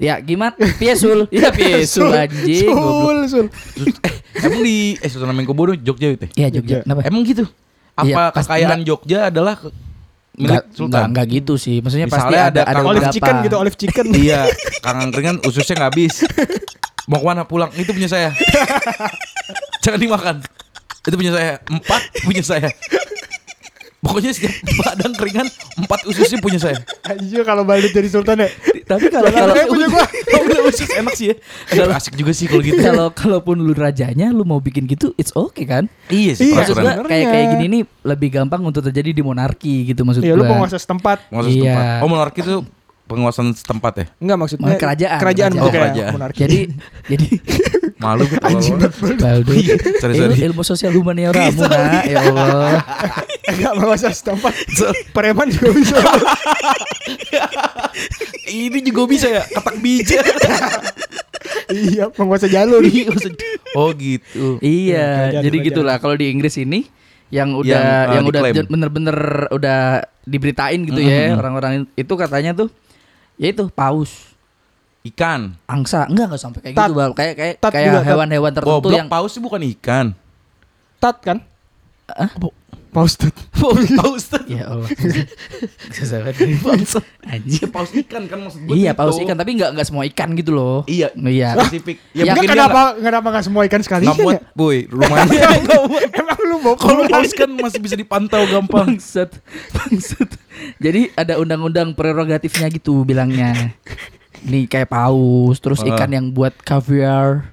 Speaker 3: Ya gimana?
Speaker 2: *laughs*
Speaker 3: Piesul. *laughs* Iya piesul anjing. goblok.
Speaker 2: Sul, sul.
Speaker 4: Terus- Eh, emang di eh Sultan Hamengkubuwono Jogja itu. ya?
Speaker 3: Iya Jogja.
Speaker 2: Jogja.
Speaker 3: Kenapa?
Speaker 4: Emang gitu?
Speaker 3: Iya,
Speaker 4: Apa
Speaker 3: pas-
Speaker 4: kekayaan Jogja adalah ke- milik
Speaker 3: Nggak-
Speaker 4: Sultan?
Speaker 3: nggak- nggak gitu sih. Maksudnya pasti
Speaker 4: Misalnya
Speaker 3: ada
Speaker 4: ada
Speaker 3: ada
Speaker 4: Kang
Speaker 2: Olive
Speaker 3: beberapa.
Speaker 2: chicken gitu, olive chicken. *laughs*
Speaker 4: iya, kangen keringan ususnya nggak habis. Mau kemana pulang? Itu punya saya. Jangan dimakan. Itu punya saya. Empat punya saya. Pokoknya setiap padang keringan empat ususnya punya saya.
Speaker 2: Anjir kalau balik jadi sultan ya.
Speaker 3: *laughs* Tapi *laughs* kalau
Speaker 2: Jangan
Speaker 3: kalau
Speaker 2: ada yang
Speaker 3: *laughs*
Speaker 2: punya gua.
Speaker 4: Oh, udah usus enak sih ya. Aduh, asik juga sih kalau gitu.
Speaker 3: kalau kalaupun lu rajanya lu mau bikin gitu it's okay kan?
Speaker 2: Iya,
Speaker 4: iya sih
Speaker 3: Maksud gua
Speaker 4: peraturan.
Speaker 2: sebenarnya.
Speaker 3: kayak kayak gini nih lebih gampang untuk terjadi di monarki gitu maksud
Speaker 2: Iya,
Speaker 3: gua.
Speaker 2: lu penguasa setempat.
Speaker 4: Maksud setempat.
Speaker 3: Iya.
Speaker 4: Oh monarki itu penguasaan setempat ya?
Speaker 2: Enggak maksudnya
Speaker 3: Mau kerajaan,
Speaker 2: kerajaan,
Speaker 3: kerajaan.
Speaker 2: bukan
Speaker 4: Oh, kerajaan.
Speaker 2: monarki. *laughs*
Speaker 3: Jadi jadi
Speaker 4: Malu gue kalau
Speaker 3: anjing
Speaker 4: lo-
Speaker 3: Baldo.
Speaker 2: Iya.
Speaker 4: Sorry,
Speaker 3: Ilmu,
Speaker 4: sorry.
Speaker 3: ilmu sosial humaniora Muna, ya
Speaker 2: *laughs*
Speaker 3: Allah.
Speaker 2: enggak merasa
Speaker 3: *laughs*
Speaker 2: setempat. Preman juga bisa.
Speaker 4: Ini juga bisa ya katak bijak.
Speaker 2: iya, penguasa jalur.
Speaker 4: *laughs* oh
Speaker 2: Kerajaan,
Speaker 4: gitu.
Speaker 3: Iya, jadi
Speaker 2: kerajaan.
Speaker 3: gitulah kalau di Inggris ini yang udah
Speaker 4: Yang,
Speaker 3: yang,
Speaker 2: uh,
Speaker 4: eh,
Speaker 3: udah
Speaker 4: diklaim.
Speaker 3: j- bener-bener udah diberitain gitu
Speaker 2: Mm-hmm.
Speaker 3: ya orang-orang itu katanya tuh ya itu paus
Speaker 4: Ikan.
Speaker 3: angsa enggak enggak sampai kayak
Speaker 2: Tat.
Speaker 3: gitu Bal. kayak kayak
Speaker 2: Tat
Speaker 3: kayak
Speaker 2: juga, tat.
Speaker 3: hewan-hewan tertentu
Speaker 4: Goblok
Speaker 3: yang
Speaker 4: paus sih bukan ikan.
Speaker 2: Tat kan?
Speaker 3: Hah?
Speaker 2: Paus tat.
Speaker 4: paus tuh. *laughs*
Speaker 3: ya Allah Susah banget. Anjir.
Speaker 4: Paus ikan kan maksud gue.
Speaker 3: iya
Speaker 4: gitu.
Speaker 3: paus ikan tapi enggak enggak semua ikan gitu loh
Speaker 4: Iya. *laughs*
Speaker 3: iya
Speaker 4: Spesifik.
Speaker 2: Ya, mungkin
Speaker 3: Ya,
Speaker 4: mungkin dia
Speaker 2: kenapa kenapa enggak semua ikan sekali
Speaker 4: nggak muat, boy. *laughs* Rumahnya.
Speaker 2: *laughs* Emang lu mau
Speaker 4: Kalau
Speaker 2: keluar?
Speaker 4: paus kan masih bisa dipantau gampang.
Speaker 3: bangsat bangsat jadi ada undang-undang prerogatifnya gitu bilangnya nih kayak paus terus
Speaker 4: Ah.
Speaker 3: ikan yang buat kaviar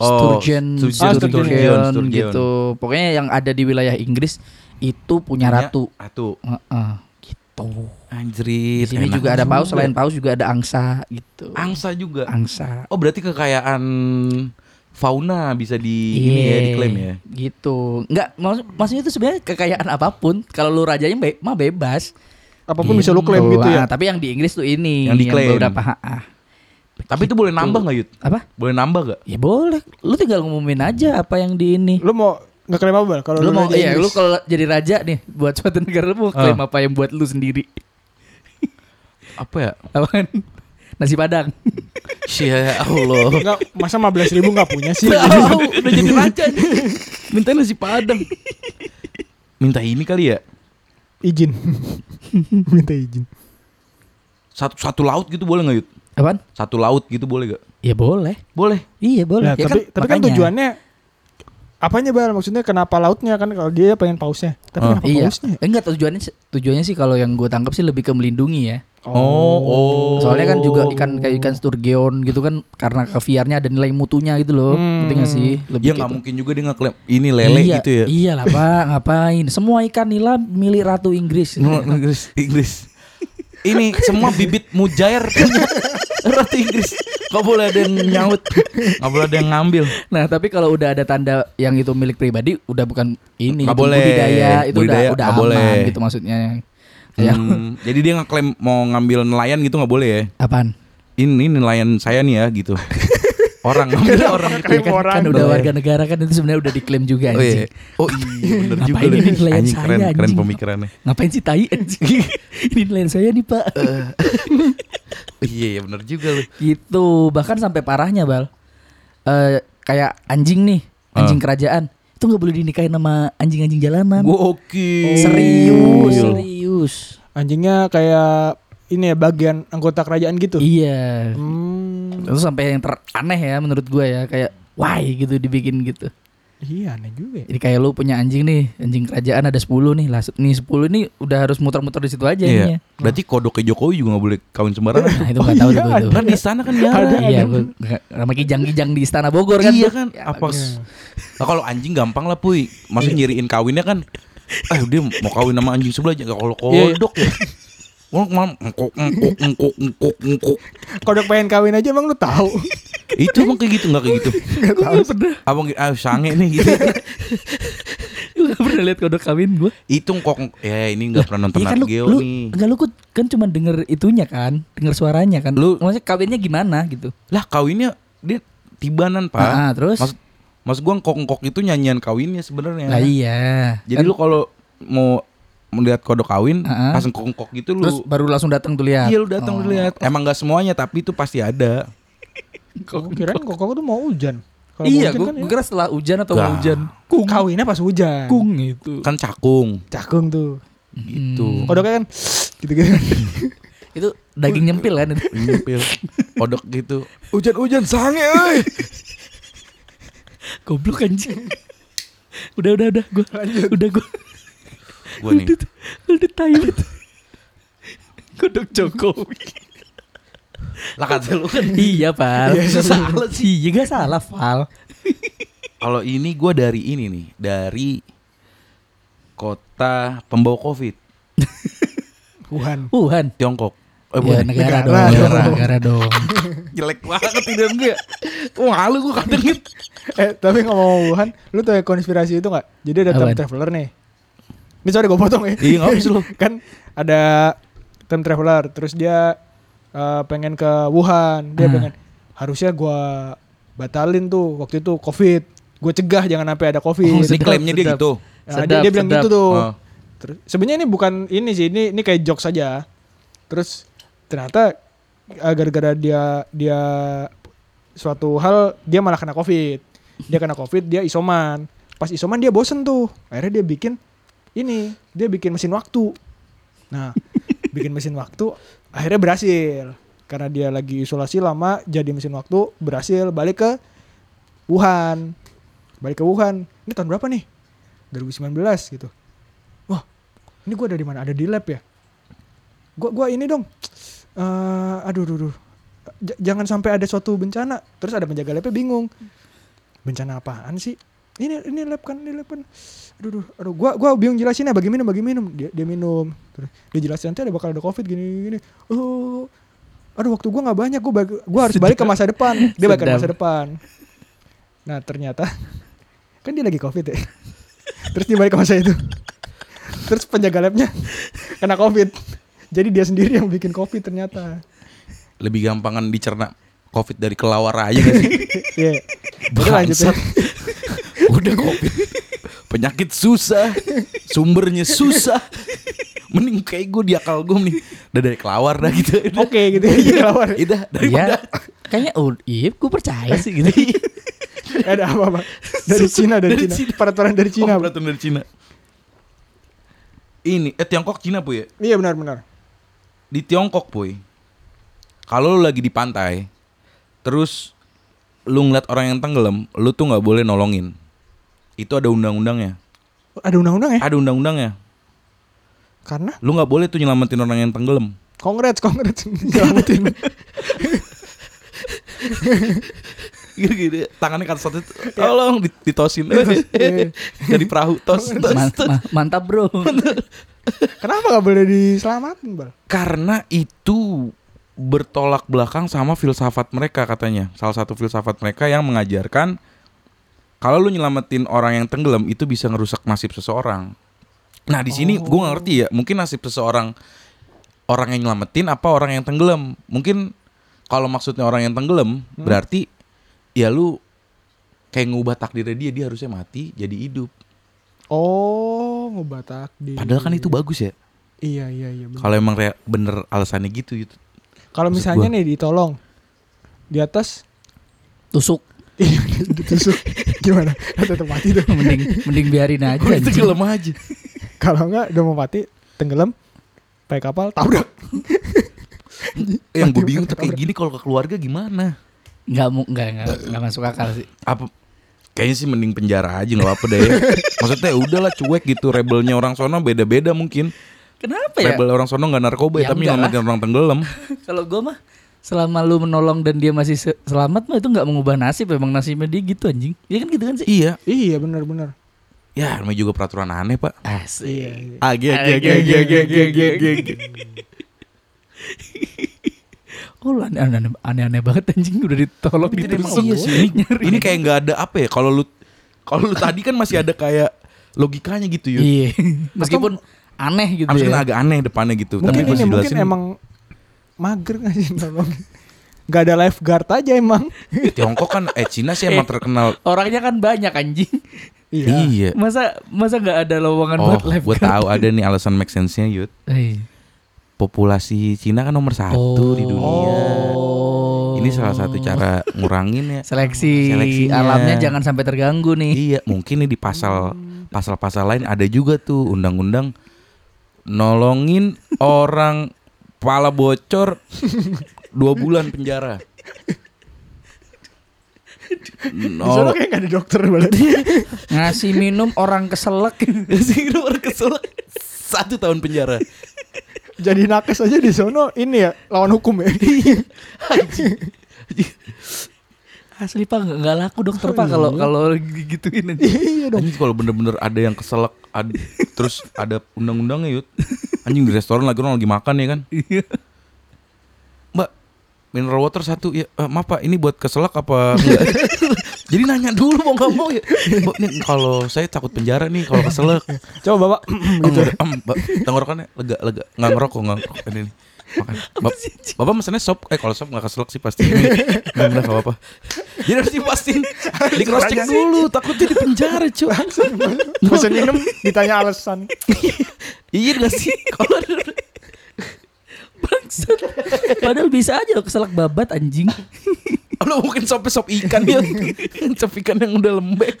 Speaker 4: Oh,
Speaker 3: *laughs* sturgeon,
Speaker 4: sturgeon,
Speaker 2: Ah,
Speaker 3: sturgeon,
Speaker 4: sturgeon, sturgeon.
Speaker 3: gitu pokoknya yang ada di wilayah Inggris itu punya ratu
Speaker 4: Ratu.
Speaker 3: Heeh, gitu
Speaker 4: Ya. Anjrit.
Speaker 3: di sini
Speaker 4: enak
Speaker 3: juga ada paus selain paus juga ada angsa gitu
Speaker 4: angsa juga.
Speaker 3: angsa
Speaker 4: Oh berarti kekayaan fauna bisa di ini ya
Speaker 3: Iya,
Speaker 4: diklaim ya.
Speaker 3: gitu nggak maksud, maksudnya itu sebenarnya kekayaan apapun kalau lu rajanya be- mah bebas
Speaker 2: Apapun bisa lu klaim
Speaker 3: Gitu.
Speaker 2: gitu ya.
Speaker 3: Ah, tapi yang di Inggris tuh ini
Speaker 4: Yang diklaim.
Speaker 3: beberapa ha- ah.
Speaker 4: Tapi itu boleh nambah nggak Yud?
Speaker 3: apa?
Speaker 4: Boleh nambah gak?
Speaker 3: Ya boleh. Lu tinggal ngumumin aja apa yang di ini.
Speaker 2: Lu mau enggak klaim apa Bal? kalau
Speaker 3: Lu, mau
Speaker 2: raja
Speaker 3: iya, lu
Speaker 2: Inggris?
Speaker 3: kalau jadi raja nih buat suatu negara lu mau klaim
Speaker 4: Ah.
Speaker 3: apa yang buat lu sendiri. *laughs*
Speaker 4: Apa ya?
Speaker 3: Apaan? Nasi Padang.
Speaker 4: Ya *laughs* Allah.
Speaker 2: Enggak, masa 15 ribu gak punya
Speaker 3: *laughs*
Speaker 2: sih
Speaker 4: Iya.
Speaker 3: Tahu, udah jadi raja nih. Minta nasi Padang.
Speaker 4: Minta ini kali ya.
Speaker 2: Izin *laughs* Minta izin
Speaker 4: Satu satu laut gitu boleh nggak Yud?
Speaker 3: Apaan?
Speaker 4: Satu laut gitu boleh gak?
Speaker 3: Ya boleh.
Speaker 4: Boleh.
Speaker 3: Iya boleh.
Speaker 2: Nah,
Speaker 3: Ya
Speaker 2: tapi, tapi kan
Speaker 3: makanya.
Speaker 2: tujuannya Apanya Bal? Maksudnya kenapa lautnya kan Kalau dia pengen pausnya Tapi
Speaker 4: Ah.
Speaker 2: kenapa
Speaker 3: Iya.
Speaker 2: pausnya
Speaker 3: Eh, Enggak tujuannya tujuannya sih kalau yang gue tangkap sih lebih ke melindungi ya.
Speaker 4: Oh, oh.
Speaker 3: Soalnya kan juga ikan kayak ikan sturgeon gitu kan karena kaviarnya ada nilai mutunya gitu loh.
Speaker 2: Hmm.
Speaker 3: Penting gak sih?
Speaker 4: Ya
Speaker 3: ke
Speaker 4: nggak
Speaker 3: itu.
Speaker 4: mungkin juga dia ngeklaim ini lele
Speaker 3: gitu. iya,
Speaker 4: gitu ya.
Speaker 3: Iya
Speaker 4: *laughs*
Speaker 3: lah pak, ngapain? Semua ikan nila milik ratu Inggris.
Speaker 4: Nul- Inggris, Inggris. Ini semua bibit *laughs* mujair punya ratu Inggris. Gak boleh ada yang nyaut, gak boleh ada yang ngambil.
Speaker 3: nah tapi kalau udah ada tanda yang itu milik pribadi, udah bukan ini.
Speaker 4: Nggak
Speaker 3: itu
Speaker 4: boleh.
Speaker 3: Budidaya itu
Speaker 4: Budidaya
Speaker 3: udah udah
Speaker 4: nggak
Speaker 3: aman
Speaker 4: boleh.
Speaker 3: gitu maksudnya. Ya. Kayak
Speaker 4: Hmm, *laughs* jadi dia ngeklaim mau ngambil nelayan gitu nggak boleh ya?
Speaker 3: apaan?
Speaker 4: Ini nelayan saya nih ya gitu. Orang *laughs* ngambil orang.
Speaker 3: Ya kan,
Speaker 2: orang. gitu.
Speaker 3: kan udah
Speaker 4: Boleh.
Speaker 3: warga negara kan itu sebenarnya udah diklaim
Speaker 4: Oh
Speaker 3: juga
Speaker 4: iya,
Speaker 3: anjing.
Speaker 4: oh *laughs* iya bener juga.
Speaker 3: Ngapain
Speaker 4: lu.
Speaker 3: ini nelayan
Speaker 4: Anjing,
Speaker 3: saya,
Speaker 4: keren, keren
Speaker 3: anjing.
Speaker 4: pemikirannya. *laughs*
Speaker 3: Ngapain sih tai anjing? ini nelayan saya nih pak.
Speaker 4: Eh. Iya iya bener juga lu.
Speaker 3: gitu. Bahkan sampai parahnya bal. Eh kayak anjing nih,
Speaker 4: Eh.
Speaker 3: anjing kerajaan itu nggak boleh dinikahin sama anjing-anjing
Speaker 4: Kan
Speaker 3: jalanan.
Speaker 4: Gokil.
Speaker 3: Serius,
Speaker 4: Iya.
Speaker 3: serius.
Speaker 2: Anjingnya kayak Ini ya bagian anggota kerajaan gitu
Speaker 3: Iya.
Speaker 2: Hmm,
Speaker 3: Itu sampai yang teraneh ya menurut gua ya kayak why gitu dibikin gitu.
Speaker 2: Iya aneh juga ya.
Speaker 3: Jadi kayak lu punya anjing nih, anjing kerajaan ada 10 nih. Lah nih 10 ini udah harus muter-muter di situ aja
Speaker 4: Iya.
Speaker 3: ininya.
Speaker 4: Berarti kodoknya Jokowi juga gak boleh kawin sembarangan.
Speaker 3: Nah, itu
Speaker 2: Oh
Speaker 3: enggak tahu
Speaker 2: iya,
Speaker 3: tuh gua tuh.
Speaker 4: Kan di sana kan ya.
Speaker 2: Ada,
Speaker 3: Iya,
Speaker 2: ada.
Speaker 3: gua nggak- sama kijang-kijang di istana Bogor kan.
Speaker 4: iya
Speaker 3: tuh.
Speaker 4: kan
Speaker 3: Ya,
Speaker 4: apa
Speaker 3: bagus.
Speaker 4: nah, kalau anjing gampang lah puy
Speaker 3: Iya.
Speaker 4: maksudnya nyiriin kawinnya kan eh dia mau kawin sama anjing sebelah aja kalau
Speaker 2: Iya, iya.
Speaker 4: kodok ya Wah, malam engkok, engkok, engkok, engkok, engkok.
Speaker 2: Kodok pengen kawin aja emang lu tahu
Speaker 3: *laughs*
Speaker 4: Itu emang kayak gitu, nggak kayak gitu.
Speaker 3: Gua nggak pernah,
Speaker 4: Abang, ah, sange nih gitu.
Speaker 3: *laughs* gua nggak pernah lihat kodok kawin gua.
Speaker 4: Itu engkok, engkok. ya ini nggak pernah nonton
Speaker 3: Iya kan
Speaker 4: Nat
Speaker 3: lu,
Speaker 4: Geo
Speaker 3: lu
Speaker 4: nih.
Speaker 3: enggak lu kut- kan cuma denger itunya kan, denger suaranya kan.
Speaker 4: Lu-
Speaker 3: maksudnya kawinnya gimana gitu.
Speaker 4: Lah kawinnya dia tibanan pak.
Speaker 3: Ah, terus
Speaker 4: Maksud, maksud gua engkok, engkok itu nyanyian kawinnya sebenarnya.
Speaker 3: lah iya.
Speaker 4: Jadi
Speaker 3: Kan-
Speaker 4: lu kalau mau melihat kodok kawin,
Speaker 3: Ah.
Speaker 4: pas engkok, engkok gitu lu.
Speaker 3: Terus baru langsung datang tuh lihat.
Speaker 4: Iya lu datang
Speaker 3: Oh.
Speaker 4: lu lihat. Emang nggak semuanya tapi itu pasti ada.
Speaker 2: Gua Kirain kokok tuh mau hujan Kalau mau
Speaker 3: Iya,
Speaker 2: hujan
Speaker 3: gue
Speaker 2: kan ya.
Speaker 3: kira setelah hujan atau mau
Speaker 4: Gah.
Speaker 3: hujan.
Speaker 2: Kawinnya pas hujan
Speaker 3: Kung gitu. itu.
Speaker 4: Kan cakung
Speaker 2: Cakung tuh
Speaker 3: Hmm.
Speaker 4: gitu.
Speaker 2: Kodoknya kan *sniffs*
Speaker 3: *laughs*
Speaker 2: Gitu-gitu
Speaker 3: Itu daging nyempil kan. itu.
Speaker 4: Nyempil. Kodok gitu. Hujan-hujan
Speaker 2: *laughs*
Speaker 4: sange euy.
Speaker 3: *laughs* Goblok anjing. *laughs* udah udah udah gue udah gue
Speaker 4: Gua nih.
Speaker 3: udah tai banget. *laughs* Kodok Jokowi.
Speaker 4: Lah kata lu kan
Speaker 3: iya, Pal. salah sih. Iya, gak salah, Pal.
Speaker 4: kalau ini gua dari ini nih, dari kota pembawa Covid,
Speaker 2: Wuhan
Speaker 3: Wuhan.
Speaker 4: Tiongkok. Eh,
Speaker 3: ya,
Speaker 4: bukan.
Speaker 3: negara,
Speaker 2: negara
Speaker 3: dong,
Speaker 4: dong.
Speaker 3: negara dong.
Speaker 4: *laughs* Jelek banget tidak gue. Wah, malu gitu. gue kadang
Speaker 2: eh tapi ngomong Wuhan, lu tau yang konspirasi itu nggak? Jadi ada time
Speaker 3: Apaan?
Speaker 2: traveler nih. Ini sorry gue potong ya.
Speaker 4: Iya, nggak apa-apa sih lu.
Speaker 2: kan ada time traveler, terus dia eh, pengen ke Wuhan, dia
Speaker 3: Hmm.
Speaker 2: pengen harusnya gua batalin tuh waktu itu covid, gue cegah jangan sampai ada covid.
Speaker 3: Oh,
Speaker 4: Ini
Speaker 3: sedap,
Speaker 4: klaimnya dia
Speaker 3: sedap.
Speaker 4: gitu.
Speaker 2: Nah,
Speaker 3: Sedap,
Speaker 2: dia, dia bilang
Speaker 3: sedap.
Speaker 2: gitu
Speaker 3: *laughs*
Speaker 2: tuh.
Speaker 4: Oh.
Speaker 2: Terus sebenarnya ini bukan ini sih, ini ini kayak joke saja. Terus ternyata eh, gara-gara dia dia suatu hal dia malah kena covid. Dia kena covid, dia isoman. Pas isoman dia bosen tuh. Akhirnya dia bikin ini, dia bikin mesin waktu. Nah, bikin mesin waktu akhirnya berhasil. Karena dia lagi isolasi lama, jadi mesin waktu berhasil balik ke Wuhan. Balik ke Wuhan. Ini tahun berapa nih? 2019 gitu. Wah, ini gue dari mana? Ada di lab ya? Gue gua ini dong. Eh, aduh, aduh, aduh. J- jangan sampai ada suatu bencana. Terus ada penjaga labnya bingung. Bencana apaan sih? Ini ini lab kan, ini lab kan. Aduh, aduh, aduh. Gua gua bingung jelasin ya bagi minum, bagi minum. Dia, dia minum. Terus dia jelasin nanti ada bakal ada covid gini gini. gini. Oh. Aduh, waktu gua nggak banyak. Gua balik- gua harus balik ke masa depan. Dia balik ke
Speaker 3: Sedap.
Speaker 2: masa depan. Nah, ternyata *laughs* kan dia lagi covid ya. Terus dia balik ke masa itu. Terus penjaga labnya kena covid. Jadi dia sendiri yang bikin covid ternyata.
Speaker 4: Lebih gampangan dicerna Covid dari kelawar aja gak sih?
Speaker 2: Iya. Udah lanjut ya.
Speaker 4: Bangsat. Udah Covid. Penyakit susah, sumbernya susah. Mending kayak gue di akal gue nih. Udah dari kelawar dah gitu. Udah.
Speaker 2: Oke gitu ya. Jadi lawan.
Speaker 4: Itu dari
Speaker 3: Iya. Kayaknya oh, iya, gue percaya sih gitu.
Speaker 2: Ada apa apa? Dari Cina dari,
Speaker 4: Dari
Speaker 2: Cina.
Speaker 4: Cina.
Speaker 2: Peraturan dari Cina.
Speaker 4: Oh, berarti dari Cina. Ini eh Tiongkok Cina, Puy. ya?
Speaker 2: iya benar-benar.
Speaker 4: Di Tiongkok, Puy. Kalau lu lagi di pantai, terus lu ngeliat orang yang tenggelam, lu tuh nggak boleh nolongin. Itu ada undang-undangnya.
Speaker 2: Ada undang-undang ya?
Speaker 4: Ada undang-undangnya.
Speaker 2: Karena
Speaker 4: Lu nggak boleh tuh nyelamatin orang yang tenggelam. *laughs*
Speaker 2: kongres kongres *laughs* nyelamatin.
Speaker 4: Gini-gini, tangannya kan satu tolong di- ditosin
Speaker 2: Iya,
Speaker 4: jadi perahu tos, tos,
Speaker 3: Man-
Speaker 4: tos.
Speaker 3: ma- mantap bro.
Speaker 2: Kenapa gak boleh diselamatin, Bal?
Speaker 4: karena itu bertolak belakang sama filsafat mereka katanya salah satu filsafat mereka yang mengajarkan kalau lu nyelamatin orang yang tenggelam itu bisa ngerusak nasib seseorang nah di sini gua nggak ngerti ya mungkin nasib seseorang orang yang nyelamatin apa orang yang tenggelam mungkin kalau maksudnya orang yang tenggelam berarti ya lu kayak ngubah takdirnya dia dia harusnya mati jadi hidup
Speaker 2: Oh, ngebatak di.
Speaker 4: padahal kan itu bagus ya
Speaker 2: Iya, iya, iya. benar.
Speaker 4: kalau emang rea- bener alasannya gitu gitu
Speaker 2: Kalau
Speaker 4: Maksud
Speaker 2: misalnya
Speaker 4: gua.
Speaker 2: nih ditolong di atas
Speaker 3: Tusuk.
Speaker 2: Iya, *laughs* ditusuk gimana? Tetap mati tuh.
Speaker 3: Mending mending biarin aja.
Speaker 4: Udah
Speaker 3: anjing.
Speaker 4: tenggelam aja
Speaker 2: Kalau enggak udah mau mati tenggelam pakai kapal tabrak.
Speaker 4: yang gue bingung tuh kayak gini kalau ke keluarga gimana
Speaker 3: Nggak mau nggak nggak nggak masuk akal sih.
Speaker 4: apa kayaknya sih mending penjara aja nggak apa *laughs* deh maksudnya ya udahlah cuek gitu rebelnya orang sono beda-beda mungkin
Speaker 3: Kenapa ya?
Speaker 4: rebel orang sono nggak narkoba Iya. ya,
Speaker 3: Ya
Speaker 4: tapi
Speaker 3: enggak
Speaker 4: nyelamatin orang *laughs* tenggelam
Speaker 3: Kalau gue mah selama lu menolong dan dia masih se- selamat mah itu nggak mengubah nasib emang nasibnya dia gitu anjing. Iya kan gitu kan sih?
Speaker 4: iya
Speaker 2: Iya benar-benar.
Speaker 4: ya namanya juga peraturan aneh pak
Speaker 2: Iya.
Speaker 3: Asik.
Speaker 2: iya.
Speaker 4: agi agi agi agi agi agi agi, agi.
Speaker 3: *laughs* Oh lu aneh- aneh- aneh-aneh banget anjing udah ditolong
Speaker 4: Tapi emang
Speaker 3: ditusuk.
Speaker 4: iya sih, ini, ini kayak nggak ada apa ya kalau lu kalau lu tadi kan masih ada kayak logikanya gitu ya
Speaker 3: Iya.
Speaker 4: *laughs*
Speaker 3: Meskipun aneh gitu
Speaker 4: Harusnya
Speaker 3: ya.
Speaker 4: agak aneh depannya gitu
Speaker 2: Mungkin
Speaker 4: pas
Speaker 2: ini mungkin
Speaker 4: dijelasin,
Speaker 2: emang mager *laughs* nggak sih tolong. Gak ada lifeguard aja emang.
Speaker 4: Tiongkok kan eh Cina sih *laughs* emang
Speaker 3: Eh.
Speaker 4: terkenal
Speaker 3: Orangnya kan banyak anjing.
Speaker 2: Iya.
Speaker 4: iya
Speaker 3: Masa masa nggak ada lowongan
Speaker 4: Oh,
Speaker 3: Kan buat live Eh.
Speaker 4: gue tahu ada nih alasan make sense-nya, Yud. Populasi Cina kan nomor satu di dunia.
Speaker 3: Oh.
Speaker 4: Ini salah satu cara ngurangin ya.
Speaker 3: seleksi,
Speaker 4: Seleksinya.
Speaker 3: alamnya jangan sampai terganggu nih.
Speaker 4: iya, mungkin nih di pasal pasal-pasal lain ada juga tuh undang-undang nolongin orang pala bocor dua bulan penjara.
Speaker 2: Di sana
Speaker 4: Nol
Speaker 2: kayak gak ada dokter *laughs* berarti.
Speaker 3: Ngasih minum orang
Speaker 4: *laughs*
Speaker 3: keselak.
Speaker 4: Sih, orang kesel satu tahun penjara.
Speaker 2: Jadi nakes aja di sono ini ya lawan hukum ya.
Speaker 3: Asli Pak nggak- nggak laku dokter Pak
Speaker 4: Oh,
Speaker 3: kalau
Speaker 4: iya.
Speaker 3: kalau gituin aja.
Speaker 2: iya dong.
Speaker 4: Anjing kalau bener-bener ada yang keselak ad- terus ada undang-undangnya yut. Anjing di restoran lagi orang lagi makan ya kan. mineral water satu ya eh, maaf pak ini buat keselak apa enggak? jadi nanya dulu mau nggak mau ya "Mbak, ini kalau saya takut penjara nih kalau keselak
Speaker 2: Coba *laughs* bapak gitu.
Speaker 4: gitu tenggorokannya lega lega nggak ngerokok nggak ngerokok ini nih. Makan. Bap- bapak mesennya sop eh kalau sop nggak keselak sih pasti ini benar nggak apa-apa jadi harus dipastiin di cross check dulu takutnya di penjara cuy
Speaker 2: Pesen minum ditanya alasan.
Speaker 4: iya nggak sih kalau
Speaker 3: *laughs* Bangsat. Padahal bisa aja loh keselak babat anjing.
Speaker 4: Lo mungkin sopnya sop ikan ya
Speaker 3: Iya. *laughs*
Speaker 4: Sop ikan yang udah lembek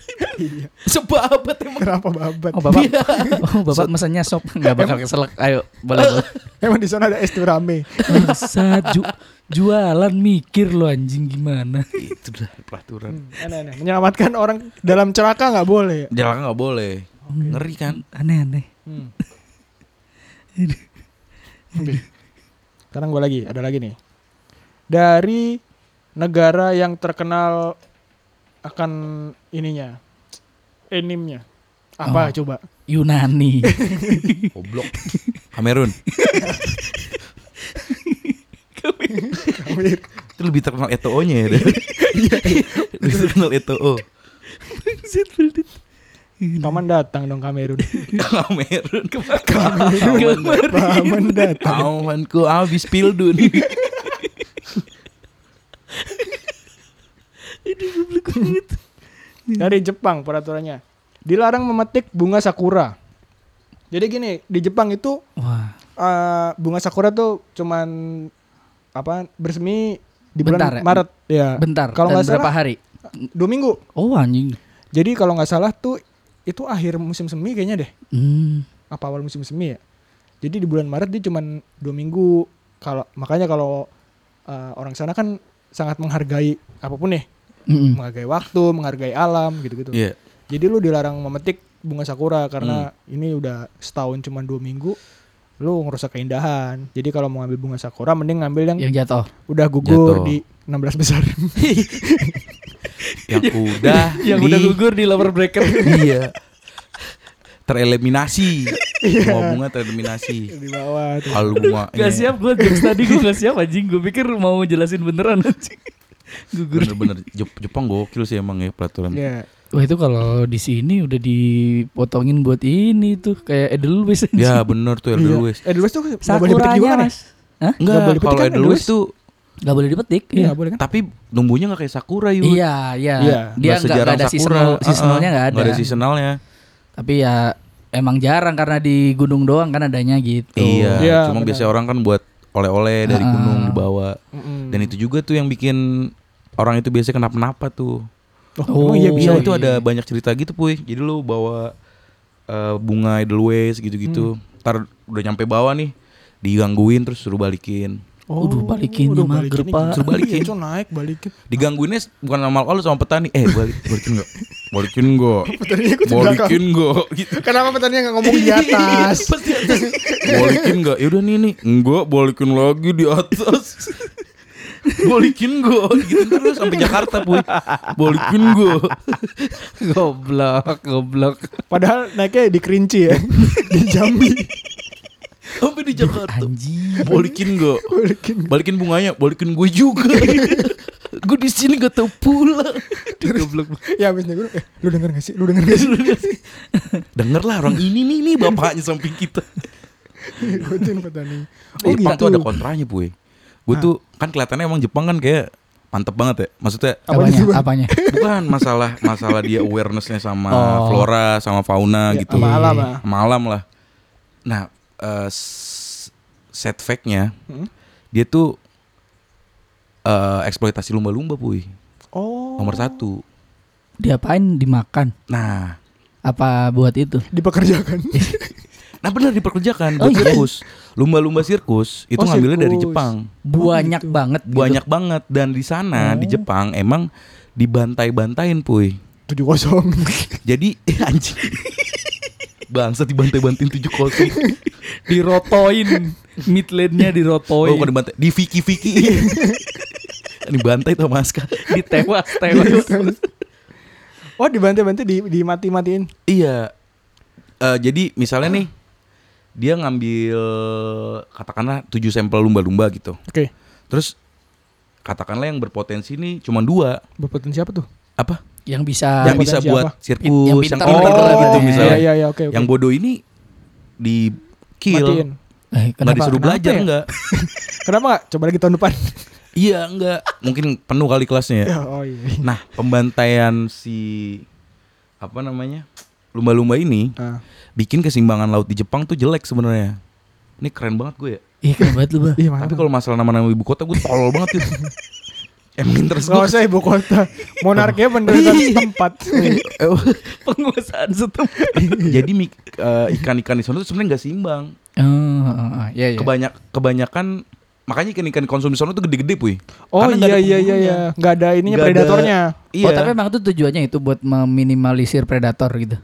Speaker 4: Sop apa emang
Speaker 2: Kenapa babat?
Speaker 3: Oh bapak, *laughs* oh, bapak mesennya sop nggak bakal keselak. Ayo boleh *laughs* boleh.
Speaker 2: Emang di sana ada es turame.
Speaker 3: Bangsat, ju- jualan mikir lo anjing gimana?
Speaker 4: Itu dah peraturan
Speaker 2: Hmm, Aneh, aneh. Menyelamatkan orang dalam celaka nggak boleh. ya?
Speaker 4: Jalan nggak boleh Ngeri
Speaker 3: *laughs*
Speaker 4: kan
Speaker 3: Aneh-aneh.
Speaker 2: *laughs* Hmm. Oke. Sekarang gue lagi, ada lagi nih. Dari negara yang terkenal akan ininya, animnya. Apa
Speaker 3: Oh.
Speaker 2: coba?
Speaker 3: *laughs* Yunani.
Speaker 4: Goblok Kamerun Itu lebih terkenal ETO nya ya
Speaker 3: Iya,
Speaker 4: Lebih terkenal E ETO
Speaker 2: Paman datang dong
Speaker 3: *laughs*
Speaker 2: Kamerun.
Speaker 4: Kamerun Kamerun
Speaker 2: Paman *laughs* datang.
Speaker 4: Awanku abis pildun
Speaker 2: Dari Jepang peraturannya. Dilarang memetik bunga sakura. Jadi gini, di Jepang itu
Speaker 3: Wah,
Speaker 2: eh, bunga sakura tuh cuman apa bersemi di bulan
Speaker 3: Bentar ya?
Speaker 2: Maret ya.
Speaker 3: bentar.
Speaker 2: Kalau
Speaker 3: dan
Speaker 2: nggak
Speaker 3: berapa
Speaker 2: salah
Speaker 3: hari?
Speaker 2: dua minggu.
Speaker 3: Oh anjing.
Speaker 2: Jadi kalau nggak salah tuh itu akhir musim semi kayaknya deh.
Speaker 3: Hmm.
Speaker 2: Apa awal musim semi ya? Jadi di bulan Maret dia cuman dua minggu. Kalau makanya kalau eh, orang sana kan sangat menghargai apapun nih,
Speaker 3: Mm-mm.
Speaker 2: menghargai waktu, menghargai alam gitu-gitu.
Speaker 4: Hmm. Iya
Speaker 2: Jadi lu dilarang memetik bunga sakura karena
Speaker 4: Hmm.
Speaker 2: ini udah setahun cuman dua minggu, lu ngerusak keindahan. Jadi kalau mau ngambil bunga sakura mending ngambil yang
Speaker 3: Yang jatuh.
Speaker 2: udah gugur
Speaker 4: Iya. Jatuh.
Speaker 2: di 16
Speaker 4: *laughs*
Speaker 2: besar.
Speaker 4: Yang udah
Speaker 3: Iya. *laughs* Yang udah
Speaker 4: di-
Speaker 3: gugur di lower breaker.
Speaker 4: Iya Tereliminasi
Speaker 3: Iya.
Speaker 4: Semua bunga tereliminasi
Speaker 2: di bawah tuh.
Speaker 4: Kalau bunga
Speaker 3: Gak siap gue jokes tadi gue gak siap anjing Gue pikir mau jelasin beneran anjing Gugur
Speaker 4: Bener-bener Jep- Jepang gokil sih emang ya peraturan
Speaker 2: Ya.
Speaker 3: Iya. Wah itu kalau di sini udah dipotongin buat ini tuh Kayak Edelweiss anjing
Speaker 4: Ya bener tuh
Speaker 3: Iya.
Speaker 4: Edelweiss
Speaker 2: Eh, Edelweiss tuh nggak boleh dipetik juga
Speaker 3: Sakuranya
Speaker 2: kan ya?
Speaker 3: mas Hah?
Speaker 2: Nggak boleh
Speaker 4: Enggak
Speaker 2: dipetik
Speaker 4: kalau
Speaker 2: kan
Speaker 4: Edelweiss
Speaker 2: Edelweiss?
Speaker 4: tuh
Speaker 3: Gak boleh dipetik
Speaker 2: Iya,
Speaker 3: Iya
Speaker 2: nggak boleh kan?
Speaker 4: Tapi numbuhnya nggak kayak Sakura yuk
Speaker 3: Iya, iya.
Speaker 2: Iya,
Speaker 3: Dia nggak nggak ada seasonal, seasonalnya nggak ada.
Speaker 4: ada seasonalnya
Speaker 3: Tapi ya emang jarang karena di gunung doang kan adanya gitu.
Speaker 4: Iya
Speaker 2: Iya,
Speaker 4: Cuma
Speaker 2: benar.
Speaker 4: biasanya orang kan buat oleh-oleh dari
Speaker 3: Ah.
Speaker 4: gunung dibawa
Speaker 2: Mm-mm.
Speaker 4: Dan itu juga tuh yang bikin Orang itu biasanya kenapa-napa tuh
Speaker 2: Oh, emang iya
Speaker 3: Oh,
Speaker 2: bisa.
Speaker 4: Iya itu
Speaker 3: iya.
Speaker 4: ada banyak cerita gitu puy Jadi lu bawa eh, bunga Edelweiss gitu-gitu
Speaker 3: Hmm.
Speaker 4: Ntar udah nyampe bawah nih Digangguin terus suruh balikin
Speaker 2: Oh,
Speaker 3: Udah balikin
Speaker 2: udah
Speaker 3: nih, mager,
Speaker 2: balikin nih.
Speaker 3: Pak.
Speaker 2: Suruh balikin.
Speaker 4: Iya,
Speaker 2: Cuk, naik balikin.
Speaker 4: digangguinnya s- bukan sama alkohol sama petani eh balik balikin gak balikin *laughs* gak
Speaker 2: Petaninya ikut di
Speaker 4: balikin gak gitu
Speaker 2: Kenapa petaninya nggak ngomong di atas?
Speaker 4: balikin gak yaudah Ya nih nih enggak balikin lagi di atas *laughs* balikin gak gitu terus sampai Jakarta puy balikin gak
Speaker 3: goblok, goblok.
Speaker 2: Padahal naiknya di Kerinci *laughs* ya, di Jambi.
Speaker 4: sampai di Jakarta
Speaker 3: Anjing.
Speaker 4: balikin gak
Speaker 2: Balikin.
Speaker 4: balikin bunganya balikin gue juga *laughs* gue di sini gak tau pulang goblok
Speaker 2: Ya abis nego, eh, lu denger gak sih? Lu denger gak sih?
Speaker 4: dengarlah orang ini nih nih bapaknya samping kita
Speaker 2: Ikutin petani. Oh, gitu.
Speaker 4: Di Jepang tuh ada kontranya puy Gue tuh kan kelihatannya emang Jepang kan kayak mantep banget ya Maksudnya
Speaker 2: Apanya
Speaker 3: Apanya?
Speaker 2: sih, Bang?
Speaker 3: Apanya?
Speaker 4: bukan masalah masalah dia awarenessnya sama
Speaker 3: Oh.
Speaker 4: flora sama fauna gitu
Speaker 2: Iya, Sama alam lah.
Speaker 4: Sama alam lah Nah eh, s- sad fact-nya
Speaker 2: Hmm?
Speaker 4: dia tuh eh, eksploitasi lumba-lumba puy
Speaker 2: Oh.
Speaker 4: nomor satu
Speaker 3: Diapain dimakan?
Speaker 4: Nah
Speaker 3: Apa buat itu?
Speaker 2: Dipekerjakan.
Speaker 4: Nah benar diperkerjakan buat
Speaker 3: Oh, iya.
Speaker 4: sirkus Lumba-lumba sirkus itu
Speaker 2: Oh,
Speaker 4: ngambilnya dari
Speaker 2: sirkus.
Speaker 4: Jepang
Speaker 3: Banyak banget. gitu.
Speaker 4: Banyak banget dan di sana di Jepang emang dibantai-bantain puy
Speaker 2: Tujuh kosong.
Speaker 4: Jadi *laughs* eh, anjing. Bangsa dibantai-bantain 7 kosong.
Speaker 3: Dirotoin. Mid
Speaker 4: Oh, bukan
Speaker 3: lane-nya dirotoin.
Speaker 4: dibantai, di Vicky *laughs* Vicky. dibantai tuh Maska.
Speaker 3: Ditewas, tewas.
Speaker 2: Gitu kan. Oh dibantai-bantai di, dimati-matiin.
Speaker 4: Iya. Eh, jadi misalnya nih dia ngambil katakanlah 7 sampel lumba-lumba gitu.
Speaker 2: Oke.
Speaker 4: Terus katakanlah yang berpotensi nih cuma dua
Speaker 2: Berpotensi apa tuh?
Speaker 4: apa
Speaker 3: yang bisa Eh,
Speaker 4: yang bisa
Speaker 2: potensi
Speaker 4: buat
Speaker 2: apa?
Speaker 4: sirkus
Speaker 3: Yang
Speaker 4: yang,
Speaker 3: pintar,
Speaker 4: oh,
Speaker 3: pintar lah
Speaker 4: gitu
Speaker 3: gitu.
Speaker 4: misalnya
Speaker 2: Iya, iya, iya, oke, oke.
Speaker 4: yang bodoh ini di
Speaker 2: Matiin.
Speaker 4: kill
Speaker 3: Eh,
Speaker 4: nggak
Speaker 3: kenapa?
Speaker 4: disuruh
Speaker 2: Kenapa
Speaker 4: belajar
Speaker 2: ya?
Speaker 4: enggak
Speaker 2: Kenapa nggak? Coba lagi tahun depan.
Speaker 4: iya enggak mungkin penuh kali kelasnya ya
Speaker 2: *laughs* Ya, oh iya.
Speaker 4: nah pembantaian si apa namanya lumba-lumba ini
Speaker 2: Ah.
Speaker 4: bikin keseimbangan laut di Jepang tuh jelek sebenarnya ini keren banget gue ya
Speaker 3: Ih, keren banget
Speaker 4: *laughs*
Speaker 3: lu, Bah.
Speaker 2: Iya,
Speaker 4: tapi
Speaker 2: mantap.
Speaker 4: kalau masalah nama-nama ibu kota gue tolol
Speaker 2: *laughs*
Speaker 4: banget itu emang interest
Speaker 2: Gak
Speaker 4: gue
Speaker 2: usah ya. ibu kota. Monarkinya penderitaan *laughs* setempat.
Speaker 3: Penguasaan setempat.
Speaker 4: jadi mik- eh, ikan-ikan di sana tuh sebenarnya nggak seimbang
Speaker 3: Oh, iya, iya.
Speaker 4: kebanyak kebanyakan makanya ikan-ikan konsumsi sana tuh gede-gede puy
Speaker 2: Oh
Speaker 4: Karena
Speaker 2: iya
Speaker 4: nggak ada
Speaker 2: iya iya
Speaker 4: pembunuhnya.
Speaker 2: iya. Gak ada ininya
Speaker 4: Nggak ada-
Speaker 2: predatornya.
Speaker 4: iya
Speaker 3: Oh, tapi emang itu tujuannya itu buat meminimalisir predator gitu.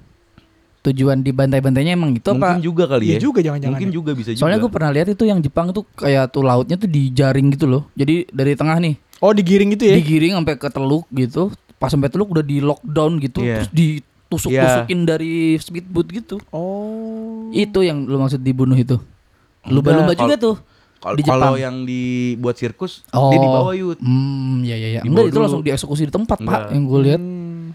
Speaker 3: Tujuan dibantai-bantainya emang itu
Speaker 4: mungkin
Speaker 3: apa?
Speaker 4: juga kali ya
Speaker 2: Iya juga jangan-jangan
Speaker 4: mungkin
Speaker 2: ya.
Speaker 4: juga bisa Iya juga
Speaker 3: Soalnya gue pernah lihat itu yang Jepang tuh kayak tuh lautnya tuh dijaring gitu loh. Jadi dari tengah nih
Speaker 2: Oh digiring
Speaker 4: Iya.
Speaker 2: gitu ya?
Speaker 3: digiring sampai ke teluk gitu. Pas sampai teluk udah di lockdown gitu,
Speaker 4: Iya.
Speaker 3: terus ditusuk-tusukin dari speedboat gitu.
Speaker 2: Oh.
Speaker 3: Itu yang lu maksud dibunuh itu. Lumba-lumba
Speaker 4: Enggak,
Speaker 3: juga tuh
Speaker 4: Kalau-
Speaker 3: di Jepang. Oh.
Speaker 4: kalau yang dibuat sirkus dia dibawa yut
Speaker 3: Hmm, ya ya ya.
Speaker 4: Dibawa
Speaker 3: Enggak itu
Speaker 4: dulu.
Speaker 3: langsung dieksekusi di tempat, Pak.
Speaker 4: Enggak.
Speaker 3: Yang gue lihat.
Speaker 2: Hmm.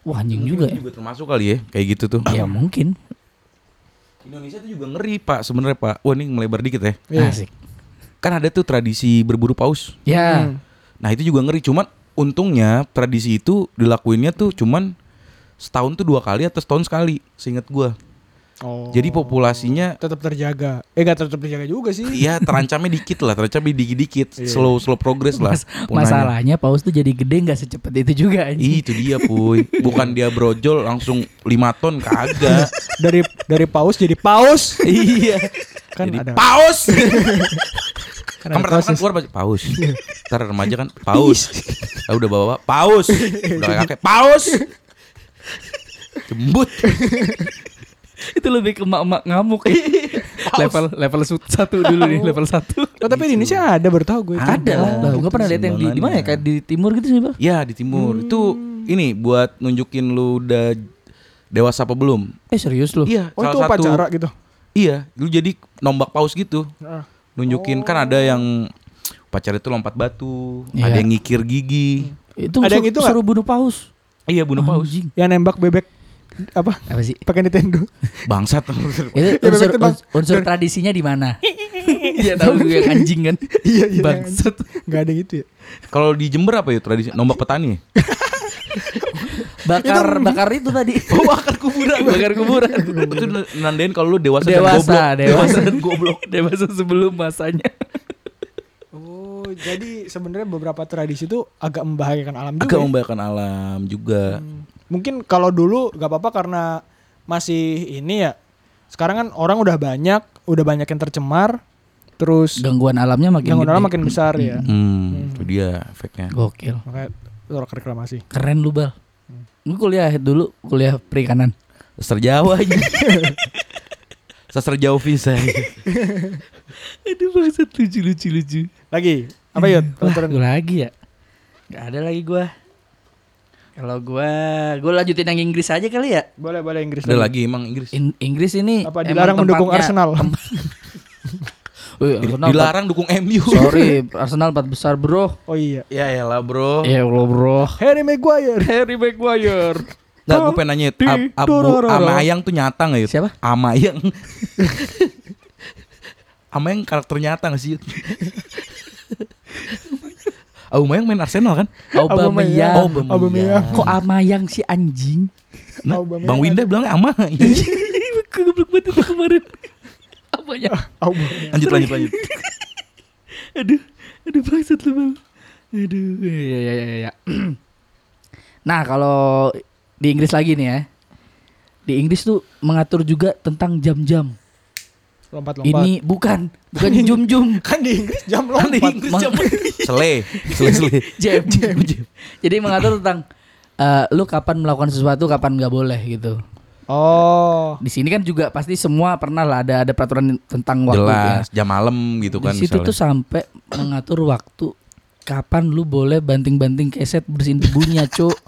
Speaker 3: Wah, anjing
Speaker 4: Mungkin
Speaker 3: juga
Speaker 4: itu
Speaker 3: ya.
Speaker 4: juga termasuk kali ya kayak gitu tuh
Speaker 3: Ya mungkin.
Speaker 4: Indonesia tuh juga ngeri pak sebenarnya pak wah ini melebar dikit ya
Speaker 2: Iya.
Speaker 3: Asik.
Speaker 4: kan ada tuh tradisi berburu paus
Speaker 3: Ya.
Speaker 2: Hmm.
Speaker 4: nah itu juga ngeri cuman untungnya tradisi itu dilakuinnya tuh cuman setahun tuh dua kali atau setahun sekali seingat gua
Speaker 2: Oh.
Speaker 4: jadi populasinya
Speaker 2: tetap terjaga. Eh gak tetap terjaga juga sih.
Speaker 4: Iya terancamnya dikit lah, terancamnya dikit-dikit, slow slow progress lah.
Speaker 3: Mas-
Speaker 4: punahnya.
Speaker 3: masalahnya paus tuh jadi gede nggak secepat itu juga anjing.
Speaker 4: Ih, Itu dia puy, bukan dia brojol langsung 5 ton kagak.
Speaker 2: dari dari paus jadi paus.
Speaker 4: *laughs* iya.
Speaker 2: Kan
Speaker 4: Kan Jadi
Speaker 2: ada-
Speaker 4: paus.
Speaker 2: Kan
Speaker 4: kan
Speaker 2: ada
Speaker 4: pertama kan
Speaker 2: proses.
Speaker 4: keluar pasti paus. Ntar remaja kan paus. Lah udah bawa paus. Udah kayak kakek paus. Jembut.
Speaker 3: Itu lebih ke emak-emak ngamuk ya.
Speaker 4: Iya.
Speaker 3: *laughs* level level su- satu dulu nih, level satu.
Speaker 2: Oh,
Speaker 4: gitu.
Speaker 2: tapi di Indonesia ada baru tahu gue.
Speaker 3: Ada lah. gue pernah lihat yang di di mana ya? Kayak di timur gitu sih, Pak.
Speaker 4: Ya di timur itu ini buat nunjukin lu udah dewasa apa belum?
Speaker 3: Eh serius loh.
Speaker 4: Iya,
Speaker 2: Oh itu
Speaker 4: salah satu.
Speaker 2: upacara gitu.
Speaker 4: Iya, lu jadi nombak paus gitu.
Speaker 2: Ah.
Speaker 4: Nunjukin kan ada yang pacar itu lompat batu,
Speaker 3: Iya.
Speaker 4: ada yang ngikir gigi.
Speaker 3: Itu
Speaker 2: Ada
Speaker 3: Ada
Speaker 2: yang itu nggak?
Speaker 3: suruh bunuh paus.
Speaker 4: Iya, bunuh paus.
Speaker 3: Anjing.
Speaker 2: Yang nembak bebek apa?
Speaker 3: Apa sih?
Speaker 2: Pakai
Speaker 3: *laughs*
Speaker 2: Nintendo.
Speaker 4: *laughs* Bangsat.
Speaker 3: Itu
Speaker 2: Ya,
Speaker 3: unsur,
Speaker 2: betul, Bang.
Speaker 3: unsur tradisinya di mana? Iya tahu gue yang anjing kan.
Speaker 2: Iya, iya,
Speaker 3: Bangsat.
Speaker 2: Gak ada gitu ya.
Speaker 4: Kalau di Jember apa ya tradisi? Nombak petani.
Speaker 3: Bakar bakar itu tadi. bakar kuburan. bakar kuburan.
Speaker 4: itu nandain kalau lu *laughs* dewasa, dan
Speaker 3: Dewasa,
Speaker 4: goblok.
Speaker 3: dewasa dan goblok. *laughs* Dewasa sebelum masanya.
Speaker 2: Oh, jadi sebenarnya beberapa tradisi itu agak membahayakan alam juga.
Speaker 3: um-
Speaker 4: Agak
Speaker 2: ya? Hmm.
Speaker 4: membahayakan alam juga.
Speaker 2: Mungkin kalau dulu gak apa-apa karena masih ini ya. Sekarang kan orang udah banyak, udah banyak yang tercemar, terus
Speaker 3: Gangguan alamnya makin
Speaker 2: gangguan alam
Speaker 3: gede.
Speaker 2: makin besar ya.
Speaker 4: Hmm, itu dia efeknya.
Speaker 3: Gokil.
Speaker 2: Makanya tolak reklamasi.
Speaker 3: Keren lu, Bal. Gue kuliah dulu, kuliah perikanan.
Speaker 4: Sastra Jawa
Speaker 3: *laughs*
Speaker 4: aja. Sastra Jawa visa.
Speaker 3: Aduh, bangsat lucu lucu lucu.
Speaker 2: Lagi, apa yuk?
Speaker 3: Iya. Wah,
Speaker 2: Peraturan.
Speaker 3: gue lagi ya. Gak ada lagi gua. Kalau gua, gua lanjutin yang Inggris aja kali ya.
Speaker 2: Boleh, boleh Inggris.
Speaker 4: Ada
Speaker 2: dulu.
Speaker 4: lagi emang Inggris.
Speaker 3: In- Inggris ini
Speaker 2: Apa
Speaker 3: emang
Speaker 2: dilarang mendukung
Speaker 3: tempatnya-
Speaker 2: Arsenal?
Speaker 3: Wih, Arsenal
Speaker 4: Dilarang dukung MU.
Speaker 3: empat- Sorry, Arsenal empat besar, Bro.
Speaker 2: Oh iya.
Speaker 4: *laughs* Ya ya lah bro.
Speaker 3: Ya Allah, Bro.
Speaker 2: Harry Maguire. *laughs*
Speaker 3: Harry Maguire.
Speaker 4: Nggak, gue pengen nanya ab, Abu
Speaker 2: dorororo.
Speaker 4: Amayang tuh nyata ya? gak Yud?
Speaker 3: Siapa?
Speaker 4: *laughs* Amayang Amayang karakter nyata gak
Speaker 3: *laughs*
Speaker 4: sih Yud? Amayang main Arsenal kan?
Speaker 3: Ya. Aubameyang.
Speaker 4: Aubameyang.
Speaker 2: Aubameyang.
Speaker 3: Kok Amayang si anjing? *laughs*
Speaker 4: Nah,
Speaker 2: Aubameyang.
Speaker 4: Bang Winda bilang Amayang
Speaker 3: Kegeblek banget itu kemarin. Apanya?
Speaker 2: Aubameyang.
Speaker 4: Lanjut lanjut lanjut
Speaker 3: aduh, aduh bangsat lu bang. Aduh, ya ya ya ya, ya. *clears throat* nah kalau di Inggris lagi nih ya, di Inggris tuh mengatur juga tentang jam-jam.
Speaker 2: Lompat-lompat.
Speaker 3: Ini bukan, bukan jum-jum.
Speaker 2: kan di Inggris jam
Speaker 3: Kan di
Speaker 2: lompat.
Speaker 3: Inggris
Speaker 2: Mang.
Speaker 3: jam-
Speaker 2: *laughs*
Speaker 4: Sele Sele sele
Speaker 3: jam, *laughs* jam, jam. Jadi mengatur tentang eh, lu kapan melakukan sesuatu, kapan nggak boleh gitu.
Speaker 2: Oh.
Speaker 3: Di sini kan juga pasti semua pernah lah ada ada peraturan tentang waktu. ya.
Speaker 4: Jelas Jam malam gitu kan
Speaker 3: di situ
Speaker 4: misalnya.
Speaker 3: tuh sampai mengatur waktu kapan lu boleh banting-banting keset bersihin debunya, Cuk.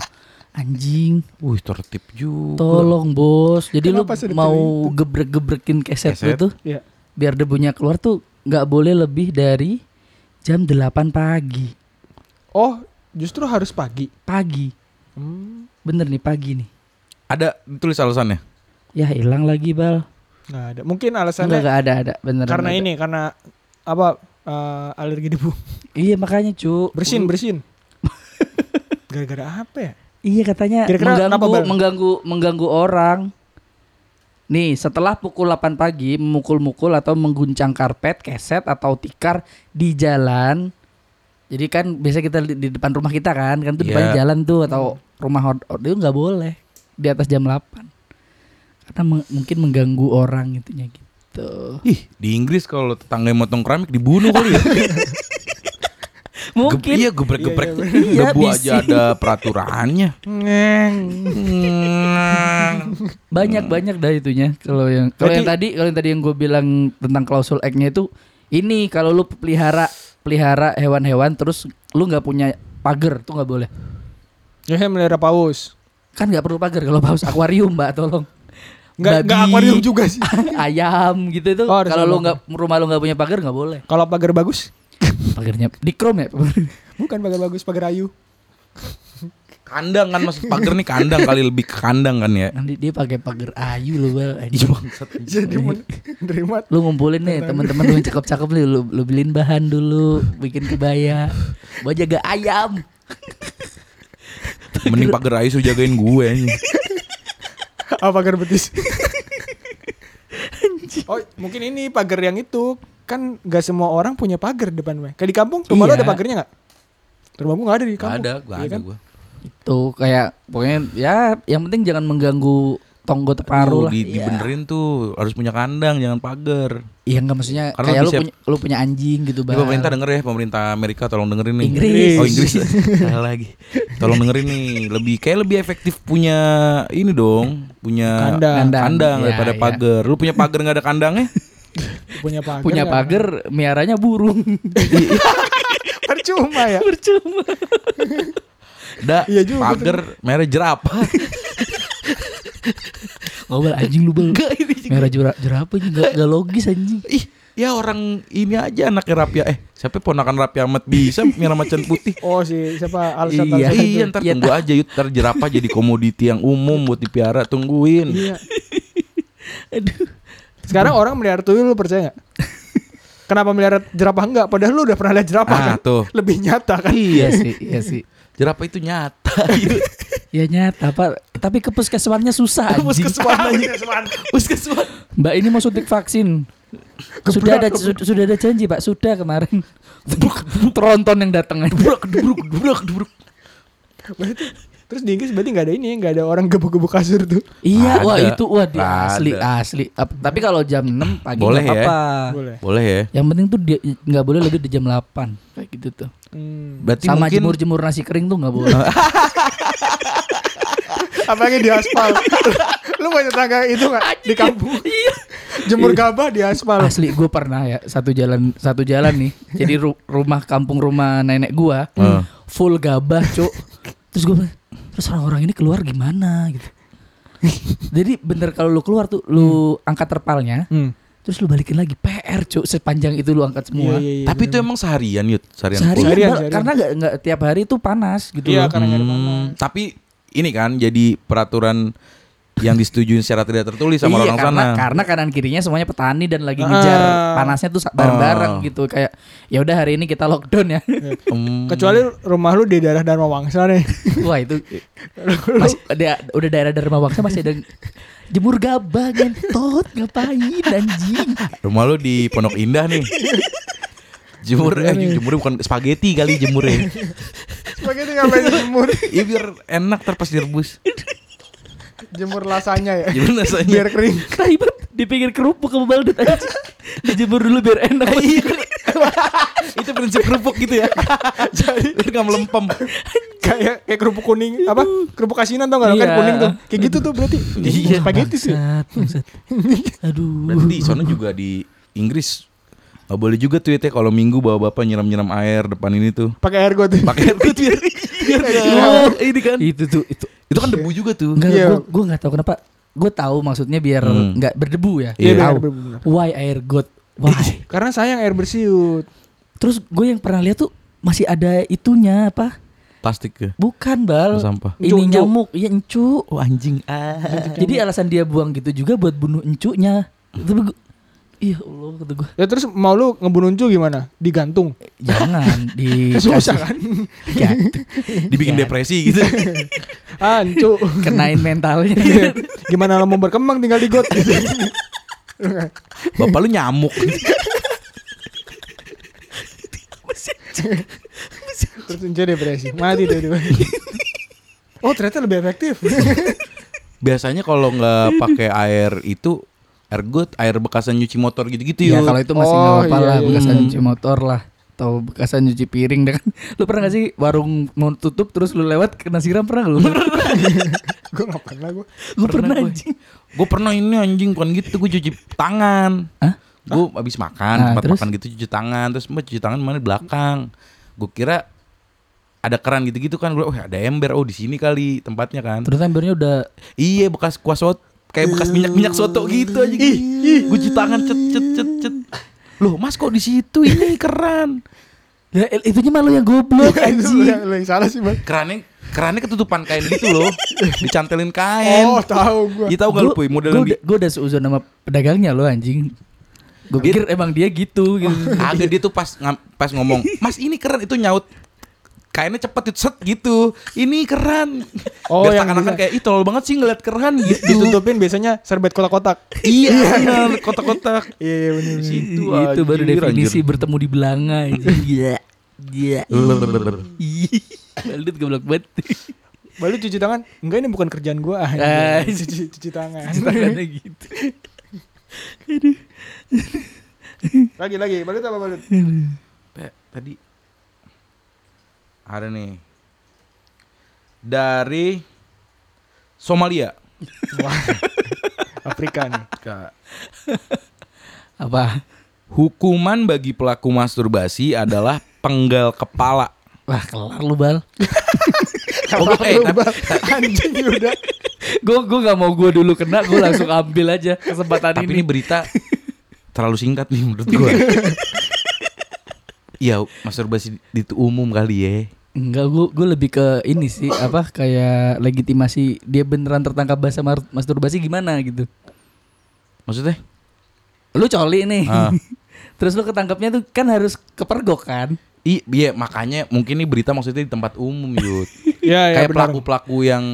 Speaker 3: Anjing,
Speaker 4: Wih tertib juga
Speaker 3: tolong bos. Jadi
Speaker 2: Kenapa
Speaker 3: lu
Speaker 2: sedetail
Speaker 3: mau gebrek-gebrekin keset,
Speaker 4: Keset.
Speaker 3: lu tuh
Speaker 2: Iya.
Speaker 3: biar debunya keluar tuh nggak boleh lebih dari jam 8 pagi.
Speaker 2: Oh, justru harus pagi.
Speaker 3: Pagi.
Speaker 2: Hmm.
Speaker 3: Bener nih pagi nih.
Speaker 4: Ada tulis alasannya.
Speaker 3: Ya hilang lagi bal.
Speaker 2: Nggak ada. Mungkin
Speaker 3: Enggak
Speaker 2: alasannya
Speaker 3: enggak ada ada bener.
Speaker 2: karena
Speaker 3: nggak ada.
Speaker 2: ini karena apa eh, alergi *laughs* debu.
Speaker 3: Iya makanya cu.
Speaker 2: Bersin,
Speaker 3: Lu-
Speaker 2: *laughs* bersin. Gara-gara apa ya?
Speaker 3: Iya katanya
Speaker 2: Kira-kira kenapa,
Speaker 3: mengganggu
Speaker 2: Bal?
Speaker 3: mengganggu mengganggu orang. Nih, setelah pukul 8 pagi memukul-mukul atau mengguncang karpet, keset atau tikar di jalan. Jadi kan biasa kita di, di depan rumah kita kan, kan tuh
Speaker 4: Iya.
Speaker 3: depan jalan tuh atau rumah hor- hor- itu nggak boleh di atas jam 8. Karena meng- mungkin mengganggu orang itunya gitu.
Speaker 4: Ih, di Inggris kalau tetangga yang motong keramik dibunuh kali *laughs* ya. Ge-
Speaker 3: Mungkin
Speaker 4: iya geprek-geprek.
Speaker 3: Iya,
Speaker 4: Debu
Speaker 3: bising.
Speaker 4: aja ada *laughs* peraturannya.
Speaker 2: Ngeng.
Speaker 4: Hmm.
Speaker 2: Hmm.
Speaker 3: banyak-banyak dari itunya kalau yang kalau yang tadi kalau yang tadi yang gue bilang tentang klausul act-nya itu ini kalau lu pelihara pelihara hewan-hewan terus lu nggak punya pagar tuh nggak boleh
Speaker 2: Ya saya melihara paus.
Speaker 3: kan nggak perlu pagar kalau paus akuarium mbak
Speaker 2: *laughs*
Speaker 3: tolong
Speaker 2: Nggak nggak
Speaker 3: Babi.
Speaker 2: akuarium juga sih.
Speaker 3: ayam gitu itu
Speaker 2: Oh, harus
Speaker 3: kalau
Speaker 2: ada
Speaker 3: lu
Speaker 2: pagar.
Speaker 3: nggak rumah lu nggak punya pagar nggak boleh
Speaker 2: Kalau pagar bagus?
Speaker 3: pagarnya di chrome ya *laughs*
Speaker 2: Bukan pagar bagus, pagar ayu.
Speaker 4: Kandang kan maksud pagar nih kandang kali lebih ke kandang kan ya.
Speaker 3: nanti dia pakai pagar ayu lu bal
Speaker 2: Iya.
Speaker 4: Ih, bangsat.
Speaker 2: Jadi men- menerima
Speaker 3: lu ngumpulin nih teman-teman lu yang cakep-cakep nih lu, lu beliin bahan dulu bikin kebaya buat jaga ayam
Speaker 4: Mending pagar Aisu jagain gue anjing.
Speaker 2: *laughs* Ah pagar betis. oh mungkin ini pagar yang itu kan nggak semua orang punya pagar depan rumah. Kayak di kampung rumah lo
Speaker 3: Iya.
Speaker 2: ada pagarnya nggak? Rumah gua nggak ada di
Speaker 4: Gak
Speaker 2: kampung.
Speaker 4: ada, gak
Speaker 2: Iya
Speaker 4: ada
Speaker 2: kan?
Speaker 4: gue.
Speaker 3: Itu kayak pokoknya ya yang penting jangan mengganggu tonggo
Speaker 4: Aduh,
Speaker 3: teparu lah.
Speaker 4: di-
Speaker 3: Iya.
Speaker 4: dibenerin tuh harus punya kandang jangan pagar.
Speaker 3: Iya enggak maksudnya
Speaker 4: Karena
Speaker 3: kayak
Speaker 4: lebih
Speaker 3: lu
Speaker 4: siap-
Speaker 3: punya lu punya anjing gitu
Speaker 4: Ini
Speaker 3: bang.
Speaker 4: pemerintah denger ya, pemerintah Amerika tolong dengerin nih.
Speaker 3: Inggris.
Speaker 4: Oh, Inggris. Salah lagi. Tolong dengerin nih, lebih kayak lebih efektif punya ini dong, punya
Speaker 2: Kandang.
Speaker 3: Kandang. Ya,
Speaker 4: daripada
Speaker 3: ya.
Speaker 4: pagar. Lu punya pagar nggak ada kandangnya?
Speaker 2: Punya pagar.
Speaker 3: punya
Speaker 4: kan?
Speaker 2: nggak?
Speaker 3: pagar miaranya
Speaker 4: *laughs*
Speaker 3: burung.
Speaker 2: *laughs* Percuma ya.
Speaker 3: Percuma.
Speaker 4: Da,
Speaker 2: Iya juga
Speaker 4: pagar merah jerapah. *laughs*
Speaker 3: Ngobrol anjing lu bang. Merah jura jerapah ini enggak enggak logis anjing.
Speaker 4: Ih, ya orang ini aja anaknya Rapia. Eh, siapa ponakan Rapia Ahmad bisa merah macan putih?
Speaker 2: Oh si siapa Alsat
Speaker 3: Iya.
Speaker 2: Alsat itu.
Speaker 4: Iya, ntar
Speaker 3: Iya,
Speaker 4: tunggu aja yuk, ntar jerapah jadi komoditi yang umum buat dipiara, tungguin.
Speaker 2: Iya.
Speaker 3: Aduh.
Speaker 2: Sekarang orang melihara tuyul lu percaya nggak? Kenapa melihara jerapah enggak? Padahal lu udah pernah lihat jerapah
Speaker 4: Ah,
Speaker 2: kan?
Speaker 4: tuh.
Speaker 2: Lebih nyata kan?
Speaker 3: Iya sih, iya sih.
Speaker 4: Jerapah itu nyata.
Speaker 3: Ya nyata Pak. Tapi ke puskesmasnya susah anjing.
Speaker 2: Puskesmas.
Speaker 3: Puskesmas. *laughs* Mbak ini mau suntik vaksin.
Speaker 2: Gebrak,
Speaker 3: sudah ada su- sudah ada janji Pak, sudah kemarin. Tronton yang datang aja.
Speaker 4: Dubruk, dubruk, dubruk.
Speaker 2: Berarti terus di Inggris berarti nggak ada ini, nggak ada orang gebu-gebu kasur tuh.
Speaker 3: Iya,
Speaker 4: Ada.
Speaker 3: wah itu wah dia
Speaker 4: Ada.
Speaker 3: asli asli. Ap- Tapi kalau jam 6 pagi
Speaker 4: Boleh
Speaker 3: nggak
Speaker 4: ya.
Speaker 3: apa-apa.
Speaker 2: Boleh.
Speaker 4: Boleh ya?
Speaker 3: Yang penting tuh dia nggak boleh lebih dari jam 8 kayak gitu tuh.
Speaker 2: Hmm.
Speaker 4: Berarti
Speaker 3: Sama
Speaker 4: mungkin *laughs*
Speaker 3: jemur-jemur nasi kering tuh nggak boleh.
Speaker 2: Apalagi di aspal. lu punya tetangga itu nggak di kampung?
Speaker 3: Iya.
Speaker 2: Jemur gabah di aspal.
Speaker 3: Asli gue pernah ya satu jalan satu jalan nih. Jadi ru- rumah kampung rumah nenek gua
Speaker 4: Hmm.
Speaker 3: full gabah, Cuk. Terus gue terus orang-orang ini keluar gimana gitu. *laughs* Jadi bener kalau lu keluar tuh lu angkat terpalnya,
Speaker 2: Hmm.
Speaker 3: terus lu balikin lagi PR, Cuk. Sepanjang itu lu angkat
Speaker 2: Iya,
Speaker 3: semua.
Speaker 2: iya, iya,
Speaker 4: tapi itu emang seharian yut, seharian.
Speaker 3: seharian,
Speaker 4: full.
Speaker 2: Seharian,
Speaker 3: Bal.
Speaker 2: seharian.
Speaker 3: karena nggak nggak tiap hari itu panas gitu
Speaker 2: Iya,
Speaker 3: loh.
Speaker 2: karena nggak ada
Speaker 4: Hmm,
Speaker 2: panas.
Speaker 4: tapi ini kan jadi peraturan yang disetujui secara tidak tertulis sama
Speaker 3: iya
Speaker 4: orang
Speaker 3: karena
Speaker 4: sana.
Speaker 3: karena kanan kirinya semuanya petani dan lagi ngejar
Speaker 2: Ah.
Speaker 3: panasnya tuh sa- bareng-bareng
Speaker 4: Ah.
Speaker 3: gitu kayak ya udah hari ini kita lockdown ya.
Speaker 4: Hmm.
Speaker 2: Kecuali rumah lu di daerah Dharma Wangsa nih.
Speaker 3: *laughs* Wah itu Mas, da- udah daerah Dharma Wangsa masih ada jemur gabah ngentot ngapain anjing.
Speaker 4: rumah lu di Pondok
Speaker 2: *laughs*
Speaker 4: Indah nih. Jemur eh jemur bukan spaghetti kali jemurnya.
Speaker 2: *laughs* Sebagai ngapain jemur?
Speaker 4: Iya biar enak terpas direbus.
Speaker 2: Jemur lasanya ya.
Speaker 4: Jemur rasanya.
Speaker 2: Biar kering.
Speaker 3: Tai banget Nah, dipikir kerupuk ke baldet anjing. Dijemur dulu biar enak.
Speaker 4: itu prinsip kerupuk gitu
Speaker 2: *laughs*
Speaker 4: ya. jadi enggak melempem.
Speaker 2: Kayak kayak kerupuk kuning apa? Kerupuk asinan tau gak? Kan
Speaker 3: Iya.
Speaker 2: kuning tuh. Kayak gitu tuh berarti.
Speaker 4: Iya.
Speaker 2: Spaghetti sih.
Speaker 3: Bangsat, bangsat. Aduh.
Speaker 4: Berarti di sana juga di Inggris Gak boleh juga tuh ya Teh, kalau minggu bawa bapak nyiram-nyiram air depan ini tuh.
Speaker 2: Pakai air gue tuh.
Speaker 4: *laughs*
Speaker 2: Iya.
Speaker 4: Pakai air biar,
Speaker 3: Iya.
Speaker 4: biar
Speaker 3: Oh,
Speaker 2: keluar.
Speaker 4: ini kan.
Speaker 3: Itu tuh itu
Speaker 4: iya, Itu kan debu juga tuh.
Speaker 3: Enggak,
Speaker 2: Iya.
Speaker 3: gue gue nggak tahu kenapa. Gue tahu maksudnya biar
Speaker 4: Hmm.
Speaker 3: nggak berdebu ya.
Speaker 4: Iya,
Speaker 3: Tahu.
Speaker 2: biar berdebu.
Speaker 3: Why air god? Why?
Speaker 2: Karena sayang air bersiut.
Speaker 3: Terus gue yang pernah lihat tuh masih ada itunya apa?
Speaker 4: plastik ya
Speaker 3: Bukan bal.
Speaker 4: sampah
Speaker 3: Ini
Speaker 2: Encu-encu.
Speaker 3: nyamuk, ya encu.
Speaker 4: oh anjing ah
Speaker 3: Jadi alasan dia buang gitu juga buat bunuh encunya. Tapi gua, iya Allah kata gua.
Speaker 2: Ya terus mau lu ngebunuh Uncu gimana? Digantung.
Speaker 4: *laughs*
Speaker 3: Jangan di
Speaker 2: Susah kan? *laughs*
Speaker 3: Ya,
Speaker 4: dibikin
Speaker 3: Iya.
Speaker 4: depresi
Speaker 3: *laughs*
Speaker 4: gitu
Speaker 2: Ancu.
Speaker 3: kenain mentalnya.
Speaker 4: *laughs*
Speaker 2: *laughs* gimana lu mau berkembang tinggal *laughs* di got.
Speaker 4: bapak lu nyamuk
Speaker 2: terus Uncu depresi. Mati deh dia. *laughs* Oh ternyata lebih *laughs* efektif.
Speaker 4: biasanya kalau nggak pakai air itu air got air bekasan nyuci motor gitu-gitu
Speaker 3: Iya
Speaker 4: Yud.
Speaker 3: kalau itu masih
Speaker 2: Oh,
Speaker 3: nggak apa-apa
Speaker 2: iya,
Speaker 3: lah
Speaker 2: iya.
Speaker 3: bekasan
Speaker 4: Hmm.
Speaker 3: cuci motor lah atau bekasan cuci piring deh kan. *laughs* Lu pernah gak sih warung mau tutup terus lu lewat kena siram *laughs* pernah gak lu?
Speaker 2: gue gak pernah gue.
Speaker 3: Lu pernah
Speaker 4: gue.
Speaker 3: anjing.
Speaker 4: Gue pernah ini anjing bukan gitu gue cuci tangan.
Speaker 3: Hah?
Speaker 4: Gue abis makan
Speaker 3: Nah,
Speaker 4: tempat
Speaker 3: terus?
Speaker 4: makan gitu cuci tangan terus mbak cuci tangan mana di belakang. Gue kira ada keran gitu-gitu kan gue, oh ada ember oh di sini kali tempatnya kan.
Speaker 3: Ternyata embernya udah
Speaker 4: Iya bekas kuah soto kayak bekas minyak minyak soto gitu aja. Ih, gue cuci tangan cet cet cet cet. Loh mas kok di situ ini keran?
Speaker 3: ya, el- itunya malu yang goblok
Speaker 2: *laughs* Lu
Speaker 3: *laughs* anjing.
Speaker 2: yang, lu yang salah sih bang.
Speaker 4: Kerannya kerannya ketutupan kain gitu loh, dicantelin kain.
Speaker 2: Oh tahu gue.
Speaker 4: Iya tahu gak lu Puy? model yang di
Speaker 3: gue udah seuzon sama pedagangnya lo anjing gue
Speaker 4: Dia- Ah,
Speaker 3: pikir emang dia gitu, gitu.
Speaker 4: Agak dia tuh pas ngam- pas ngomong, "Mas, ini keren." Itu nyaut kainnya cepet itu set gitu. Ini keren.
Speaker 2: Oh,
Speaker 4: Biar
Speaker 2: yang
Speaker 4: seakan-akan
Speaker 2: bisa.
Speaker 4: kayak ih tolol banget sih ngeliat keren gitu.
Speaker 2: Ditutupin biasanya serbet kotak-kotak.
Speaker 4: iya, bener, kotak-kotak.
Speaker 2: *laughs* Iya iya bener.
Speaker 4: Di
Speaker 2: bener.
Speaker 4: situ
Speaker 3: itu baru
Speaker 4: gitu, anjir,
Speaker 3: definisi
Speaker 4: anjir.
Speaker 3: bertemu di belanga
Speaker 4: *laughs*
Speaker 3: anjing. Iya Iya Ih, *laughs* Baldut goblok banget
Speaker 2: Baru cuci tangan. Enggak ini bukan kerjaan gue.
Speaker 3: Ah.
Speaker 2: cuci, cuci tangan.
Speaker 3: Tangannya gitu
Speaker 2: lagi lagi. Balut apa balut?
Speaker 4: Pe, Tadi ada nih. Dari Somalia.
Speaker 2: Wah. Afrika nih.
Speaker 4: Kak.
Speaker 3: Apa?
Speaker 4: Hukuman bagi pelaku masturbasi adalah penggal kepala.
Speaker 3: Wah kelar lu bal
Speaker 4: Oh,
Speaker 2: Apa
Speaker 4: eh,
Speaker 2: lu,
Speaker 4: tapi-
Speaker 2: Bang? *laughs* anjing udah.
Speaker 3: Gue gue gak mau gue dulu kena Gue langsung ambil aja kesempatan
Speaker 4: Tapi ini
Speaker 3: ini
Speaker 4: berita terlalu singkat nih menurut *laughs* gua. Iya, masturbasi di- itu umum kali ya.
Speaker 3: Enggak gue gue lebih ke ini sih Apa kayak legitimasi Dia beneran tertangkap bahasa mar- masturbasi gimana gitu
Speaker 4: Maksudnya?
Speaker 3: lu coli nih
Speaker 4: Ah.
Speaker 3: *laughs* terus lu ketangkapnya tuh kan harus kepergok kan
Speaker 4: I- Iya, makanya mungkin ini berita maksudnya di tempat umum, *laughs* Yud.
Speaker 2: Iya iya
Speaker 4: Kayak
Speaker 2: benar.
Speaker 4: pelaku-pelaku yang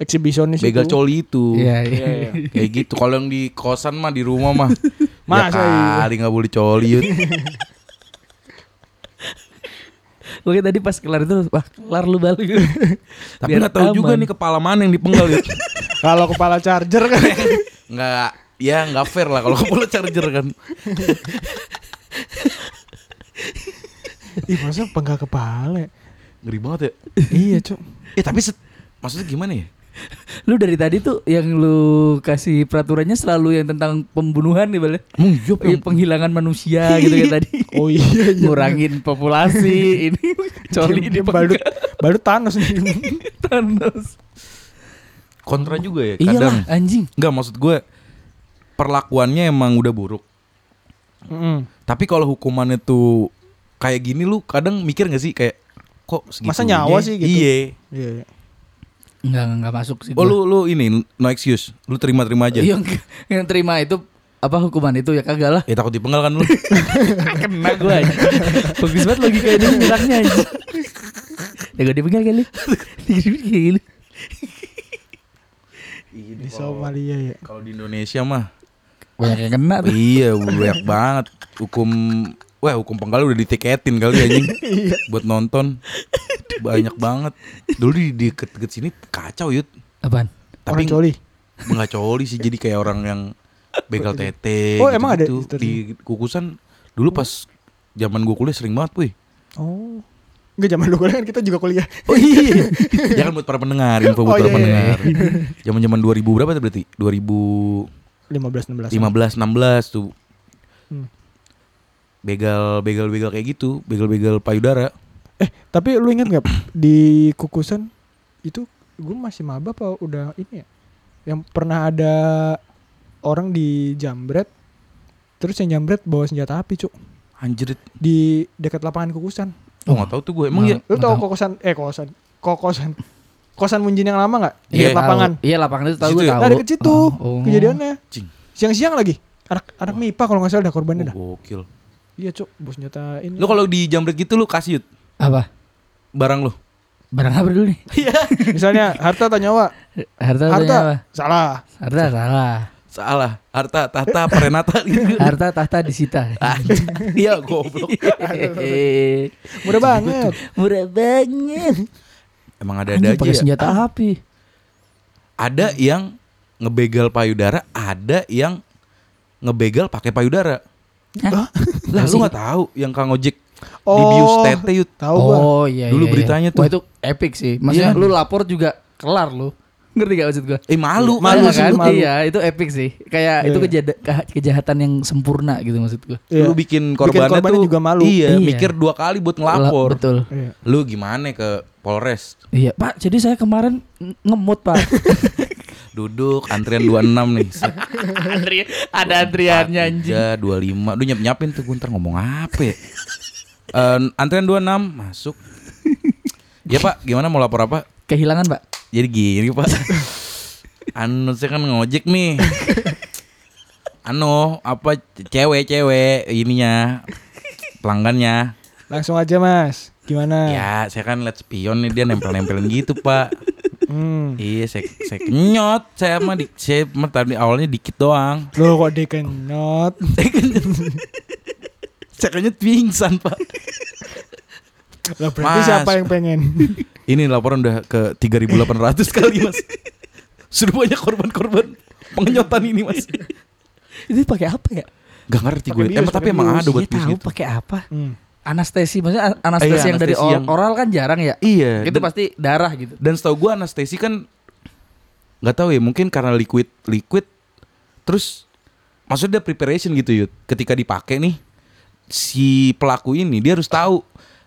Speaker 2: Eksibisionis
Speaker 4: begal
Speaker 2: itu.
Speaker 4: coli itu.
Speaker 2: Iya, iya.
Speaker 4: Kayak gitu. Kalau yang di kosan mah di rumah
Speaker 2: *laughs*
Speaker 4: mah
Speaker 2: Masa
Speaker 4: ya
Speaker 2: iya?
Speaker 4: kali nggak boleh coli,
Speaker 2: *laughs*
Speaker 4: Yud.
Speaker 3: oke tadi pas kelar itu wah kelar lu
Speaker 4: *laughs*
Speaker 3: balik
Speaker 4: Tapi nggak tahu juga nih kepala mana yang
Speaker 2: *laughs*
Speaker 4: dipenggal, Yud.
Speaker 2: Kalau kepala charger kan.
Speaker 4: Nggak, ya nggak fair lah kalau *laughs* kepala charger kan.
Speaker 2: *laughs* Ih, masa penggal kepala? ya?
Speaker 4: Ngeri banget ya.
Speaker 2: iya, Cok.
Speaker 4: Eh, tapi set- maksudnya gimana ya?
Speaker 3: lu dari tadi tuh yang lu kasih peraturannya selalu yang tentang pembunuhan nih balik
Speaker 4: Emang iya, Pak?
Speaker 3: Iya, penghilangan
Speaker 4: *laughs*
Speaker 3: manusia gitu kayak tadi
Speaker 2: Oh iya, iya.
Speaker 3: ngurangin populasi ini coli di
Speaker 2: balut balut Thanos nih.
Speaker 4: *laughs*
Speaker 3: Thanos
Speaker 4: kontra juga ya
Speaker 2: Iya
Speaker 4: kadang
Speaker 3: iyalah Iya anjing
Speaker 4: nggak maksud gue perlakuannya emang udah buruk
Speaker 2: Mm.
Speaker 4: tapi kalau hukumannya tuh kayak gini lu kadang mikir nggak sih kayak kok segitunya?
Speaker 2: Masa nyawa sih gitu?
Speaker 4: iya
Speaker 2: Iya, iya.
Speaker 3: nggak nggak- nggak masuk sih
Speaker 4: oh
Speaker 3: gua.
Speaker 4: lu lu ini no excuse lu terima terima aja
Speaker 3: Iya, yang, yang terima itu apa hukuman itu ya kagak lah
Speaker 4: ya takut dipenggal
Speaker 2: *laughs*
Speaker 4: kan lu
Speaker 3: kena gue aja *laughs* bagus banget logika ini bilangnya aja ya gue dipegal kali dikirim kayak gini
Speaker 2: Di Somalia ya.
Speaker 4: kalau di Indonesia mah
Speaker 3: banyak yang kena tuh
Speaker 4: iya banyak banget hukum wah hukum penggal udah ditiketin kali ya, anjing
Speaker 2: Iya.
Speaker 4: buat nonton banyak banget dulu di deket-deket sini kacau yud
Speaker 3: apaan
Speaker 2: Orang
Speaker 4: tapi
Speaker 2: coli.
Speaker 4: nggak coli sih jadi kayak orang yang begal tete
Speaker 2: Oh, emang ada itu
Speaker 4: gitu-gitu. di kukusan dulu pas zaman gue kuliah sering banget
Speaker 2: *laughs*
Speaker 4: wih
Speaker 2: Oh. Enggak zaman dulu kan kita juga kuliah.
Speaker 4: oh
Speaker 2: *laughs*
Speaker 4: iya jangan buat para pendengar info
Speaker 2: Oh, iya,
Speaker 4: buat para
Speaker 2: iya,
Speaker 4: pendengar zaman zaman 2000 berapa tuh berarti 2015
Speaker 2: 15 16.
Speaker 4: 16 tuh
Speaker 2: Hmm.
Speaker 4: begal begal begal kayak gitu begal begal payudara
Speaker 2: Eh, tapi lu ingat nggak di kukusan itu gue masih maba apa udah ini ya? Yang pernah ada orang di jambret terus yang jambret bawa senjata api, Cuk.
Speaker 4: anjir
Speaker 2: Di dekat lapangan kukusan.
Speaker 4: Oh nggak tahu tuh gue emang ya.
Speaker 3: Nggak.
Speaker 2: Lu tau
Speaker 3: Nggak tahu.
Speaker 2: kokosan eh kokosan kokosan kosan Munjin yang lama nggak? Di
Speaker 4: Iya,
Speaker 2: dekat lapangan.
Speaker 3: Tahu. Iya lapangan itu tahu
Speaker 4: Situ
Speaker 3: gue
Speaker 4: ya?
Speaker 3: tahu.
Speaker 2: Nah, deket situ
Speaker 3: Oh.
Speaker 2: kejadiannya.
Speaker 4: Cing.
Speaker 2: Siang-siang lagi. Anak anak MIPA kalau nggak salah dah korbannya dah.
Speaker 4: Oh, gokil.
Speaker 2: Iya, Cuk, bos nyata ini.
Speaker 4: Lu kalau di jambret gitu lu kasih Yud,
Speaker 3: Apa?
Speaker 4: barang lu.
Speaker 3: Barang apa dulu nih?
Speaker 2: misalnya harta atau nyawa?
Speaker 3: Harta atau
Speaker 2: Harta.
Speaker 3: nyawa?
Speaker 2: Salah.
Speaker 3: Harta salah.
Speaker 4: Salah, harta, tahta, perenata gitu.
Speaker 3: Harta tahta disita.
Speaker 4: Anjing. Iya goblok.
Speaker 3: *laughs*
Speaker 2: Murah banget.
Speaker 3: Murah banget. Ah.
Speaker 4: Emang
Speaker 3: Anjing,
Speaker 4: ada-ada aja.
Speaker 3: pakai
Speaker 4: ya.
Speaker 3: senjata api.
Speaker 4: Ada yang ngebegal payudara, ada yang ngebegal pakai payudara.
Speaker 3: Hah?
Speaker 4: Lah
Speaker 3: Apa sih?
Speaker 4: lu nggak tahu yang Kang Ojek
Speaker 2: Oh.
Speaker 4: dibius tete Yud.
Speaker 2: Tahu gua.
Speaker 3: Oh iya
Speaker 4: Dulu
Speaker 3: iya,
Speaker 4: beritanya
Speaker 3: iya.
Speaker 4: tuh.
Speaker 3: Wah itu epic sih. Maksudnya
Speaker 4: Iya.
Speaker 3: lu lapor juga kelar lu. Ngerti gak maksud gua?
Speaker 4: Eh malu,
Speaker 2: Malu
Speaker 3: Iya
Speaker 2: sih,
Speaker 3: kan?
Speaker 2: malu.
Speaker 3: Iya, itu epic sih.
Speaker 2: Iya.
Speaker 3: Kayak itu kejada- keha- kejahatan yang sempurna gitu maksud gua.
Speaker 2: Iya.
Speaker 4: Lu bikin korbannya,
Speaker 2: korbannya
Speaker 4: tuh
Speaker 2: juga malu.
Speaker 4: Iya,
Speaker 3: Iya.
Speaker 4: mikir dua kali buat
Speaker 3: La-
Speaker 4: ngelapor.
Speaker 3: Betul.
Speaker 2: Iya.
Speaker 4: Lu gimana ke Polres?
Speaker 3: Iya, Pak. Jadi saya kemarin ng- ngemut,
Speaker 4: *laughs*
Speaker 3: Pak.
Speaker 4: Duduk antrian 26 nih. Set.
Speaker 3: Antri- ada antriannya *laughs* anjing.
Speaker 4: Tiga, dua lima, Duh nyap-nyapin tuh gue ntar ngomong apa ya Eh, Antrian 26 masuk Ya pak gimana mau lapor apa?
Speaker 3: Kehilangan, Pak.
Speaker 4: Jadi gini pak Anu saya kan ngojek nih Anu apa ce- cewek-cewek ininya Pelanggannya
Speaker 2: Langsung aja, Mas. Gimana?
Speaker 4: Ya saya kan liat spion nih dia nempel-nempelin gitu pak
Speaker 2: Hmm.
Speaker 4: *laughs* Iya saya, saya kenyot Saya mah di, saya mah tadi awalnya dikit doang
Speaker 2: Lo kok dikenyot?
Speaker 4: Saya kenyot pingsan pak
Speaker 2: Lah berarti
Speaker 4: Mas.
Speaker 2: siapa yang pengen?
Speaker 4: Ini laporan udah ke 3800 kali mas Sudah banyak korban-korban pengenyotan ini
Speaker 3: *laughs*
Speaker 4: mas
Speaker 3: Itu pakai apa ya?
Speaker 4: Gak ngerti
Speaker 2: Pakai
Speaker 4: gue
Speaker 2: bius,
Speaker 4: Emang tapi
Speaker 2: pakai
Speaker 4: emang
Speaker 2: bius.
Speaker 4: ada buat gitu.
Speaker 3: Iya, tahu
Speaker 4: bius itu
Speaker 3: pakai apa?
Speaker 2: Hmm.
Speaker 3: Anestesi maksudnya an- anestesi
Speaker 4: Iya,
Speaker 3: yang dari
Speaker 4: anestesi
Speaker 3: or-
Speaker 4: yang-
Speaker 3: oral kan jarang ya?
Speaker 4: Iya
Speaker 3: Itu
Speaker 4: dan,
Speaker 3: pasti darah gitu.
Speaker 4: dan setahu gue anestesi kan Gak tahu ya mungkin karena liquid Liquid Terus Maksudnya preparation gitu Yud Ketika dipakai nih Si pelaku ini dia harus tahu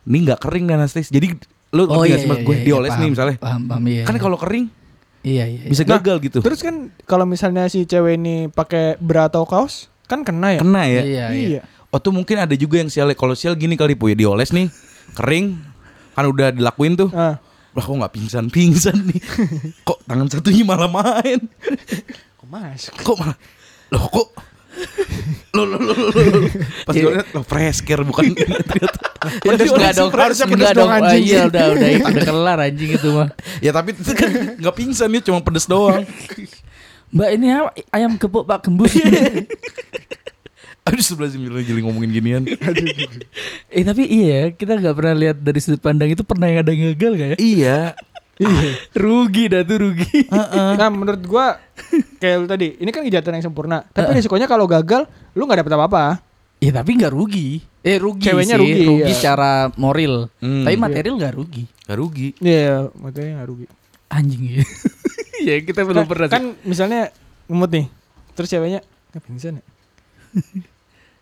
Speaker 4: Ini gak kering nih anestesi Jadi lu
Speaker 3: Oh,
Speaker 4: ngerti gak sih mas gue dioles
Speaker 3: iya, paham,
Speaker 4: nih misalnya
Speaker 3: Paham, paham iya.
Speaker 4: Kan kalau kering
Speaker 3: iya iya. iya.
Speaker 4: bisa
Speaker 2: Nah,
Speaker 4: gagal gitu
Speaker 2: Terus kan kalau misalnya si cewek ini pakai bra atau kaos, kan kena ya?
Speaker 4: *laughs* Kena ya
Speaker 3: Iya, iya.
Speaker 2: Iya.
Speaker 4: Oh tuh mungkin ada juga yang sial Kalau sial gini kali Puy Dioles nih Kering Kan udah dilakuin tuh
Speaker 2: Ah,
Speaker 4: Lah kok gak pingsan-pingsan
Speaker 2: *laughs*
Speaker 4: nih Kok tangan satunya malah main
Speaker 2: kok masuk?
Speaker 4: Kok malah Loh kok Loh loh loh loh, loh, loh. Pas
Speaker 2: Iya.
Speaker 4: gue liat Loh fresh care
Speaker 2: *laughs*
Speaker 4: bukan
Speaker 3: Pedes
Speaker 4: Dioles
Speaker 3: enggak dong?
Speaker 4: fresh gitu.
Speaker 2: harusnya
Speaker 4: care.
Speaker 2: pedes Ya, dong,
Speaker 3: Enggak iya. dong. Ah,
Speaker 2: anjing.
Speaker 3: Iya udah udah *laughs* itu udah kelar anjing itu mah.
Speaker 4: Ya tapi itu kan gak pingsan ya Cuma pedes doang
Speaker 3: Mbak ini apa? ayam gepuk Pak Gembus.
Speaker 4: Aduh sebelah sini jadi ngomongin ginian
Speaker 3: *laughs* eh tapi iya kita nggak pernah lihat dari sudut pandang itu pernah yang ada yang gagal gak ya?
Speaker 4: Iya
Speaker 2: *laughs*
Speaker 3: Rugi dah tuh rugi.
Speaker 2: Nah, menurut gua kayak lu tadi, ini kan kejahatan yang sempurna. Tapi risikonya kalau gagal, lu nggak dapet apa-apa.
Speaker 3: Ya tapi nggak rugi. Eh rugi
Speaker 2: Ceweknya
Speaker 3: sih.
Speaker 2: rugi, iya.
Speaker 3: rugi secara moral.
Speaker 4: Hmm.
Speaker 3: Tapi material nggak rugi.
Speaker 4: Gak rugi
Speaker 2: Iya, maksudnya nggak rugi.
Speaker 3: Anjing ya. *laughs* ya kita belum
Speaker 2: Kan-
Speaker 3: pernah
Speaker 2: kan
Speaker 3: sih.
Speaker 2: misalnya ngemut nih terus ceweknya nggak pingsan *laughs* ya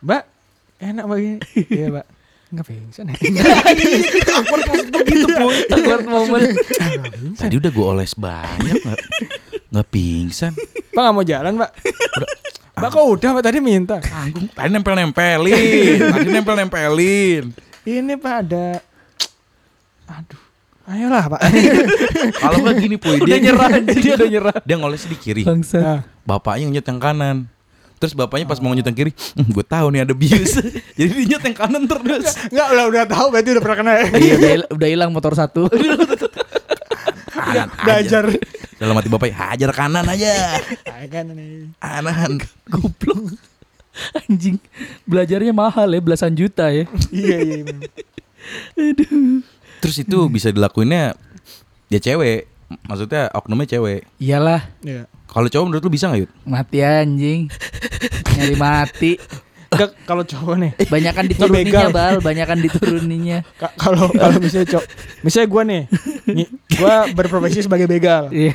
Speaker 2: mbak enak mbak *laughs* gini iya mbak nggak pingsan ya
Speaker 3: *laughs* Itu boy. Awkward moment.
Speaker 2: nggak pingsan
Speaker 4: Tadi udah gue oles banyak Gak, gak pingsan
Speaker 2: *laughs* mbak nggak mau jalan mbak mbak kok udah mbak tadi minta
Speaker 4: Tanggung. Tadi nempel-nempelin, tadi nempel-nempelin.
Speaker 2: ini pak ada aduh ayolah *laughs* pak
Speaker 4: Kalau nggak gini puy,
Speaker 3: Udah
Speaker 4: dia
Speaker 3: nyerah Kan. anjing, dia udah nyerah.
Speaker 4: Dia ngoles di kiri,
Speaker 3: Bangsa.
Speaker 2: Nah, *laughs*
Speaker 4: bapaknya nyet yang kanan. Terus bapaknya pas mau nyet yang kiri, "Hmm, gue tahu nih ada
Speaker 3: *laughs*
Speaker 4: bius. Jadi dia nyet yang kanan terus.
Speaker 2: nggak udah udah tahu berarti udah pernah kena ya
Speaker 3: Iya udah hil- udah hilang motor satu.
Speaker 4: Kanan aja.
Speaker 2: *laughs* belajar
Speaker 4: Dalam hati bapaknya hajar kanan aja.
Speaker 2: Ah, kan ini
Speaker 4: Kanan.
Speaker 3: *laughs* Goblok. Anjing. Belajarnya mahal ya belasan juta ya.
Speaker 2: iya iya memang.
Speaker 4: Terus itu bisa dilakuinnya dia cewek. Maksudnya oknumnya cewek.
Speaker 3: Iyalah
Speaker 2: iya
Speaker 4: Kalau cowok menurut lu bisa nggak Yud?
Speaker 3: mati anjing. Nyari mati.
Speaker 2: Nggak, kalau cowok nih
Speaker 3: Banyakan dituruninya
Speaker 2: Ngebegal.
Speaker 3: bal, banyakan dituruninya.
Speaker 2: Ka- *laughs* kalau kalau misalnya cok misalnya gue nih nyi- gua berprofesi sebagai begal
Speaker 3: Iya.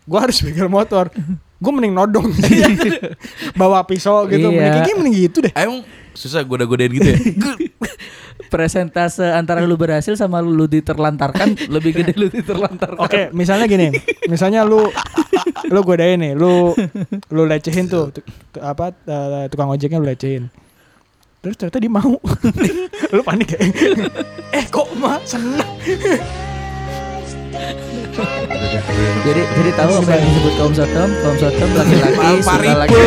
Speaker 2: gue harus begal motor gue mending *laughs* nodong bawa pisau gitu
Speaker 3: Iya.
Speaker 2: mending kayaknya mending gitu deh
Speaker 4: Emang susah goda-godain gitu ya?
Speaker 3: Presentase antara lu berhasil sama lu *laughs* diterlantarkan lebih gede lu diterlantarkan.
Speaker 2: oke misalnya gini misalnya lu lu godain nih lu lu lecehin tuh tu- tu- apa eh, tukang ojeknya lu lecehin Terus ternyata dia mau. *laughs* Lu panik ya? *laughs* eh kok mah seneng.
Speaker 3: Jadi jadi tahu apa yang disebut kaum Sodom? Kaum Sodom laki-laki
Speaker 4: Maaf,
Speaker 3: suka
Speaker 4: Paripur.
Speaker 3: laki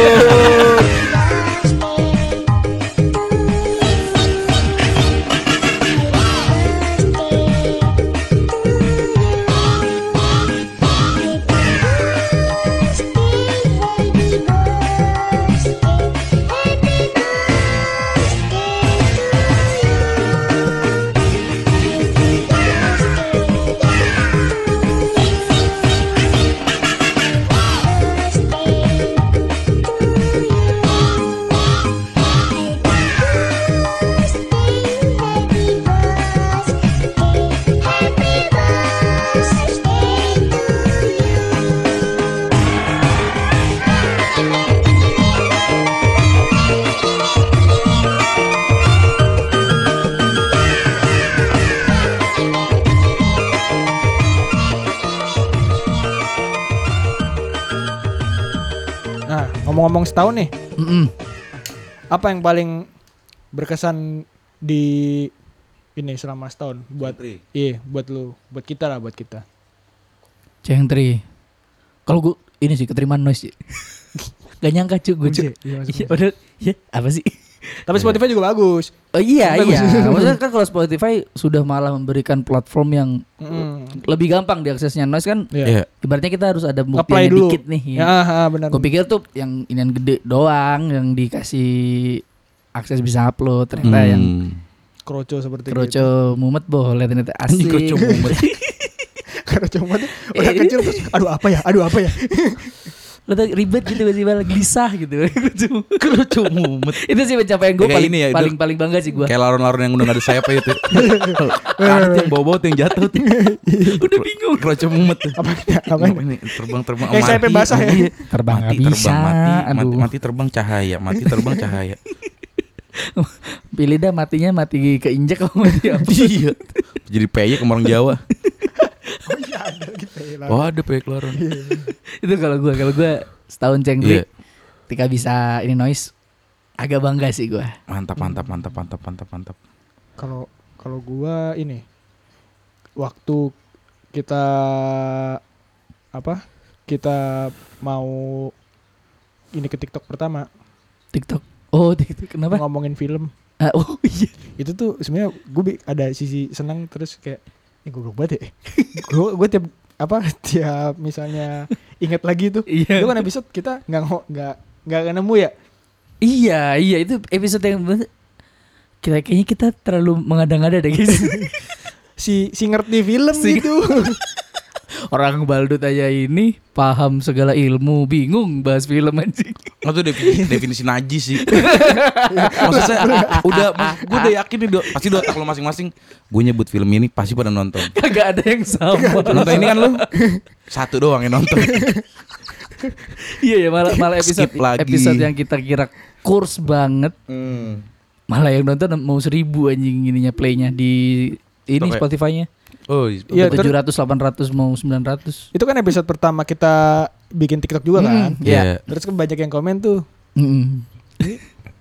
Speaker 2: Nah ngomong-ngomong setahun nih,
Speaker 3: Mm-mm.
Speaker 2: apa yang paling berkesan di ini selama setahun buat
Speaker 4: Tri.
Speaker 2: iya buat lu buat kita lah buat kita
Speaker 3: Cengtri. Kalau gue ini sih keterimaan noise. sih. *laughs* Gak nyangka cuy gue cuy.
Speaker 2: Iya, iya, masuk,
Speaker 3: Iya,
Speaker 2: masuk.
Speaker 3: padahal- iya, apa sih?
Speaker 2: tapi Spotify juga bagus
Speaker 3: Oh iya
Speaker 2: Bagus.
Speaker 3: iya. Maksudnya kan kalau Spotify sudah malah memberikan platform yang
Speaker 2: Mm.
Speaker 3: lebih gampang diaksesnya noise kan.
Speaker 2: Iya.
Speaker 3: Ibaratnya kita harus ada
Speaker 2: Apply
Speaker 3: buktinya
Speaker 2: dulu
Speaker 3: dikit nih. iya.
Speaker 2: ya, ha, benar
Speaker 3: Gue pikir tuh yang inian gede doang yang dikasih akses bisa upload ternyata yang
Speaker 4: Hmm.
Speaker 2: kroco seperti gitu. *laughs*
Speaker 3: kroco mumet boleh ternyata asik.
Speaker 4: Anjing kerucut
Speaker 3: *laughs*
Speaker 4: mumet.
Speaker 2: kroco banget. udah
Speaker 3: Iya.
Speaker 2: kecil terus aduh apa ya aduh apa ya
Speaker 3: Lo tau ribet gitu tiba-tiba gelisah gitu. *laughs* Kroco mumet. *laughs* Itu sih pencapaian gue
Speaker 4: Kayak
Speaker 3: paling
Speaker 4: ini ya, itu-
Speaker 3: paling paling bangga sih gue.
Speaker 4: Kayak laron-laron yang udah gak ada sayapnya itu. *laughs* Karet yang bawa-bawa tuh yang *laughs* jatuh tuh.
Speaker 3: Udah bingung.
Speaker 4: Kerucut mumet tuh.
Speaker 2: apa
Speaker 3: *laughs*
Speaker 2: ya apa ya?
Speaker 3: Iya.
Speaker 4: Ngapain nih? Terbang-terbang
Speaker 2: Kayak sayapnya basah ya?
Speaker 4: Iya.
Speaker 3: Terbang
Speaker 4: mati,
Speaker 3: nggak
Speaker 4: terbang,
Speaker 3: bisa,
Speaker 4: mati, mati,
Speaker 3: aduh.
Speaker 4: mati, terbang cahaya, mati, terbang cahaya.
Speaker 3: Pilih dah matinya mati keinjek kalau
Speaker 4: *laughs*
Speaker 3: mati apa.
Speaker 4: Iya. Jadi peyek sama orang Jawa.
Speaker 2: Gitu ya, lah.
Speaker 4: Oh ada peyek laron.
Speaker 2: Iya.
Speaker 3: itu kalau gue kalau gue setahun
Speaker 4: Iya.
Speaker 3: cengkrik ketika bisa ini noise agak bangga sih gue
Speaker 4: Mantap, mantap, mantap, mantap, mantap, mantap.
Speaker 2: kalau kalau gua ini waktu kita apa kita mau ini ke TikTok pertama
Speaker 3: TikTok oh TikTok kenapa
Speaker 2: ngomongin film
Speaker 3: Ah, oh *laughs* iya
Speaker 2: itu tuh sebenarnya gue ada sisi senang terus kayak ini gue banget ya *laughs* gue gue tiap apa *laughs* tiap misalnya ingat lagi tuh
Speaker 3: Iya.
Speaker 2: itu kan episode kita nggak ngo- nggak nggak nemu ya
Speaker 3: iya iya itu episode yang bener- kita kayaknya kita terlalu mengada-ngada deh
Speaker 4: *laughs*
Speaker 3: guys
Speaker 2: si si ngerti film
Speaker 3: Si-
Speaker 2: gitu *laughs*
Speaker 3: orang baldut aja ini paham segala ilmu bingung bahas film anjing *laughs*
Speaker 4: Nggak tuh Oh, *laughs* definisi, definisi najis sih Maksud
Speaker 2: *laughs*
Speaker 4: saya Iya. udah Gue udah yakin nih do- Pasti di otak lo masing-masing Gue nyebut film ini Pasti pada nonton
Speaker 3: kagak ada yang sama
Speaker 4: Nonton ini kan lo Satu doang yang nonton
Speaker 3: iya ya malah malah episode
Speaker 4: Skip lagi.
Speaker 3: episode yang kita kira kurs banget
Speaker 4: Hmm.
Speaker 3: malah yang nonton mau seribu anjing ininya playnya di ini
Speaker 4: Oke.
Speaker 3: Spotify-nya
Speaker 4: Oh
Speaker 2: Iya,
Speaker 3: Iya, 700, 800 mau 900.
Speaker 2: itu kan episode pertama kita bikin TikTok juga kan
Speaker 3: Hmm.
Speaker 4: Iya.
Speaker 2: terus kan banyak yang komen tuh
Speaker 3: Mm-mm.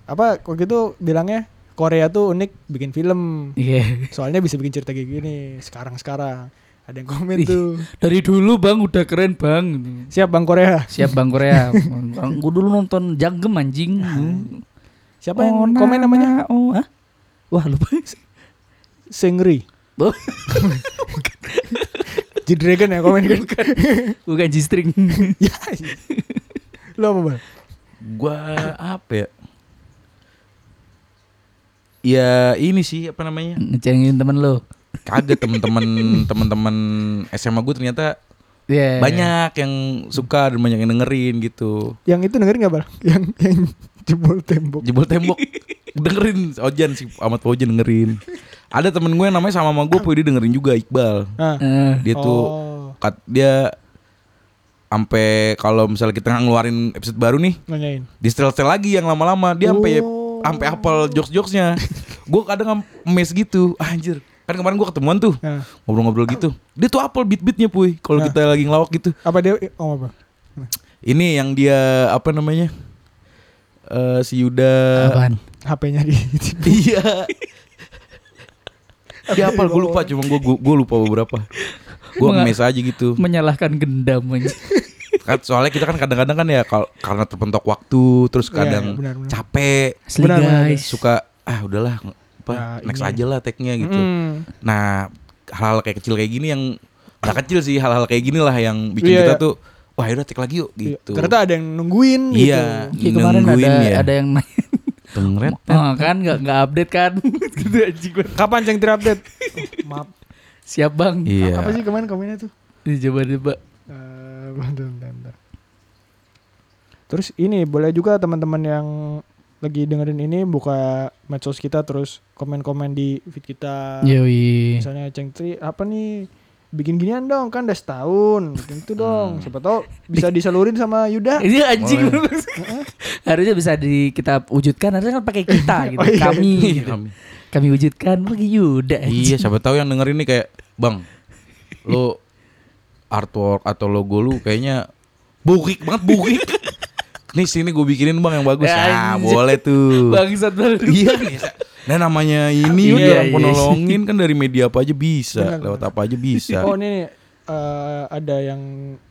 Speaker 2: apa kok gitu bilangnya Korea tuh unik bikin film
Speaker 3: Iya.
Speaker 2: soalnya bisa bikin cerita kayak gini sekarang sekarang ada yang komen
Speaker 3: Ih.
Speaker 2: tuh
Speaker 3: Dari dulu Bang udah keren Bang.
Speaker 2: siap bang Korea
Speaker 3: Siap Bang Korea. Bang, gua dulu nonton Janggem anjing.
Speaker 2: siapa yang komen namanya
Speaker 3: Oh, hah? Wah, lupa. Oh,
Speaker 2: Sengri
Speaker 3: *laughs* Bo-
Speaker 2: G-Dragon ya komen kan
Speaker 3: Bukan G-string.
Speaker 2: Ya. Lo apa bang?
Speaker 4: Gue apa ya Ya ini sih apa namanya
Speaker 3: Ngecengin temen lo.
Speaker 4: Kaget temen-temen Temen-temen SMA gue ternyata
Speaker 3: Iya.
Speaker 4: Banyak yang suka Dan banyak yang dengerin gitu
Speaker 2: Yang itu dengerin gak bang? Yang yang jebol tembok
Speaker 4: Jebol tembok Dengerin Ojan si Ahmad Fauzan dengerin Ada temen gue yang namanya sama sama gue Puydi dengerin juga Iqbal
Speaker 2: ah.
Speaker 3: Eh,
Speaker 4: Dia tuh
Speaker 2: Oh
Speaker 4: kat, dia sampai kalau misalnya kita nggak ngeluarin episode baru nih,
Speaker 2: Oh, Nanyain
Speaker 4: di setel lagi yang lama-lama. Dia sampai
Speaker 2: Oh.
Speaker 4: sampai apal jokes-jokesnya. gue kadang mes gitu, Ah, anjir. Kan kemarin gue ketemuan tuh
Speaker 2: Ah.
Speaker 4: ngobrol-ngobrol gitu. Dia tuh apal beat-beatnya puy. Kalau
Speaker 2: Ah.
Speaker 4: kita lagi ngelawak gitu.
Speaker 2: Apa dia Oh apa?
Speaker 4: Ini yang dia apa namanya? Eh si Yuda
Speaker 3: Apaan?
Speaker 2: *laughs* HP-nya di
Speaker 4: *laughs* Iya. Dia apa? Gue lupa. Cuma gue gue lupa beberapa. Gue
Speaker 3: Menga-
Speaker 4: ngemes aja gitu.
Speaker 3: menyalahkan gendam aja.
Speaker 4: Kan, soalnya kita kan kadang-kadang kan ya kalau karena terpentok waktu, terus
Speaker 2: Iya,
Speaker 4: kadang
Speaker 2: iya, benar, benar.
Speaker 4: capek,
Speaker 3: Asli
Speaker 2: Benar, benar,
Speaker 3: guys.
Speaker 4: suka ah udahlah apa
Speaker 2: Nah,
Speaker 4: next
Speaker 2: ini.
Speaker 4: aja lah tag-nya gitu.
Speaker 2: Mm.
Speaker 4: Nah, hal-hal kayak kecil kayak gini yang nggak kecil sih, hal-hal kayak gini lah yang bikin
Speaker 2: Iya,
Speaker 4: kita
Speaker 2: iya.
Speaker 4: tuh wah udah tag lagi yuk
Speaker 2: Iya,
Speaker 4: gitu.
Speaker 2: Ternyata ada yang nungguin gitu.
Speaker 4: Iya,
Speaker 3: Kayak kemarin ada
Speaker 4: nungguin ya.
Speaker 3: ada yang nanya,
Speaker 4: Tengret.
Speaker 3: oh, kan nggak nggak update kan? *laughs* gitu anjing gue.
Speaker 2: Kapan ceng
Speaker 4: *laughs*
Speaker 2: terupdate? Oh, maaf.
Speaker 3: Siap bang.
Speaker 4: Iya.
Speaker 2: Apa sih kemarin komennya tuh?
Speaker 3: Ini Coba coba.
Speaker 2: Eh, bentar, bentar, bentar. Terus ini boleh juga teman-teman yang lagi dengerin ini buka medsos kita terus komen-komen di feed kita.
Speaker 3: Yoi.
Speaker 2: Misalnya Ceng Tri apa nih bikin ginian dong kan udah setahun bikin itu dong siapa tahu bisa disalurin sama Yuda
Speaker 3: Ini anjing *laughs* Harusnya bisa di kita wujudkan Harusnya kan pakai
Speaker 2: *laughs*
Speaker 3: kita gitu
Speaker 2: Oh, iya.
Speaker 3: Kami
Speaker 4: Iya,
Speaker 3: gitu.
Speaker 4: kami.
Speaker 3: Kami wujudkan Bagi Yuda
Speaker 4: Iya, siapa tahu yang dengerin ini kayak, "Bang, lo artwork atau logo lu kayaknya burik banget,
Speaker 2: *laughs*
Speaker 4: burik." Nih sini gue bikinin bang yang
Speaker 2: Ya,
Speaker 4: bagus. Ah,
Speaker 3: Anjing.
Speaker 4: boleh tuh.
Speaker 3: Bangsat banget
Speaker 4: Iya nih. Sa- Nah namanya ini
Speaker 3: Iya,
Speaker 4: udah orang
Speaker 3: iya.
Speaker 4: penolongin kan dari media apa aja bisa,
Speaker 2: Benar,
Speaker 4: lewat apa aja bisa.
Speaker 2: Oh ini nih, eh, ada yang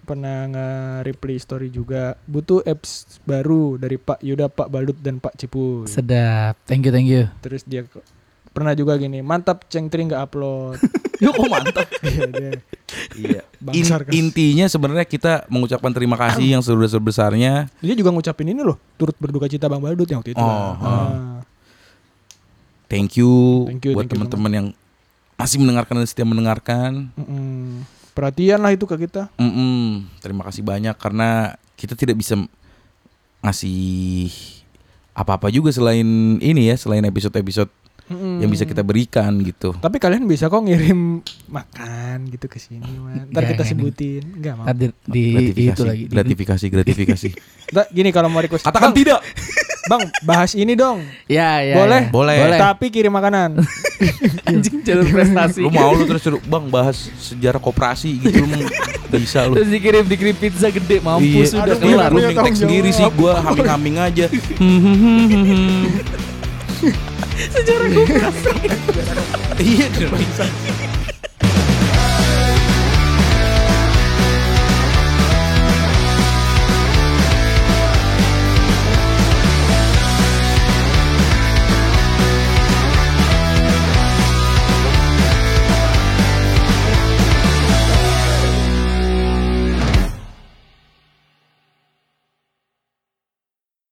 Speaker 2: pernah nge-reply story juga butuh apps baru dari Pak Yuda, Pak Balut dan Pak Cipuy.
Speaker 3: *laughs* Sedap Thank you thank you
Speaker 2: Terus dia ke- pernah juga gini, mantap Ceng Tri nggak upload.
Speaker 4: Yo kok mantap.
Speaker 2: Iya, dia.
Speaker 4: Iya.
Speaker 2: Bang
Speaker 4: In-
Speaker 2: Sarkas.
Speaker 4: intinya sebenarnya kita mengucapkan terima kasih yang sebesar besarnya.
Speaker 2: Dia juga ngucapin ini loh, turut berduka cita Bang Balut yang waktu itu.
Speaker 4: Oh,
Speaker 2: Ah.
Speaker 4: Thank you,
Speaker 2: Thank you,
Speaker 4: buat
Speaker 2: thank you
Speaker 4: teman-teman yang masih mendengarkan dan setia mendengarkan.
Speaker 2: Mm-mm. Perhatian lah itu ke kita.
Speaker 4: Mm-mm. Terima kasih banyak karena kita tidak bisa ngasih apa-apa juga selain ini ya, selain episode-episode
Speaker 2: Mm-mm.
Speaker 4: yang bisa kita berikan gitu.
Speaker 2: Tapi kalian bisa kok ngirim makan gitu ke sini,
Speaker 4: Iya,
Speaker 2: Man. Ntar
Speaker 3: Nggak,
Speaker 2: kita
Speaker 3: nggak,
Speaker 2: sebutin. Enggak mau.
Speaker 3: Hadir di
Speaker 4: Gratifikasi,
Speaker 3: itu lagi di-
Speaker 4: gratifikasi,
Speaker 3: *laughs*
Speaker 4: gratifikasi.
Speaker 2: Ntar Gini kalau mau request.
Speaker 4: Katakan
Speaker 2: Bang,
Speaker 4: tidak.
Speaker 2: Bang, bahas ini dong.
Speaker 3: Ya ya
Speaker 2: boleh,
Speaker 3: ya.
Speaker 4: iya. Boleh.
Speaker 2: Tapi kirim makanan.
Speaker 3: *laughs* Anjing jalur prestasi
Speaker 4: Lu mau lu terus suruh, Bang bahas sejarah koperasi
Speaker 3: *laughs*
Speaker 4: gitu lu mau- bisa lu.
Speaker 3: Terus dikirim dikirim pizza
Speaker 4: Iya,
Speaker 3: gede Mampus sudah
Speaker 2: Aduh,
Speaker 4: lu-
Speaker 3: kelar
Speaker 4: Lu
Speaker 2: punya
Speaker 4: mintek
Speaker 2: tanggung
Speaker 4: sendiri sih,
Speaker 2: jawab.
Speaker 4: gua haming-haming aja.
Speaker 3: Hmm, Sejarah gue
Speaker 4: Iya, kenapa bisa?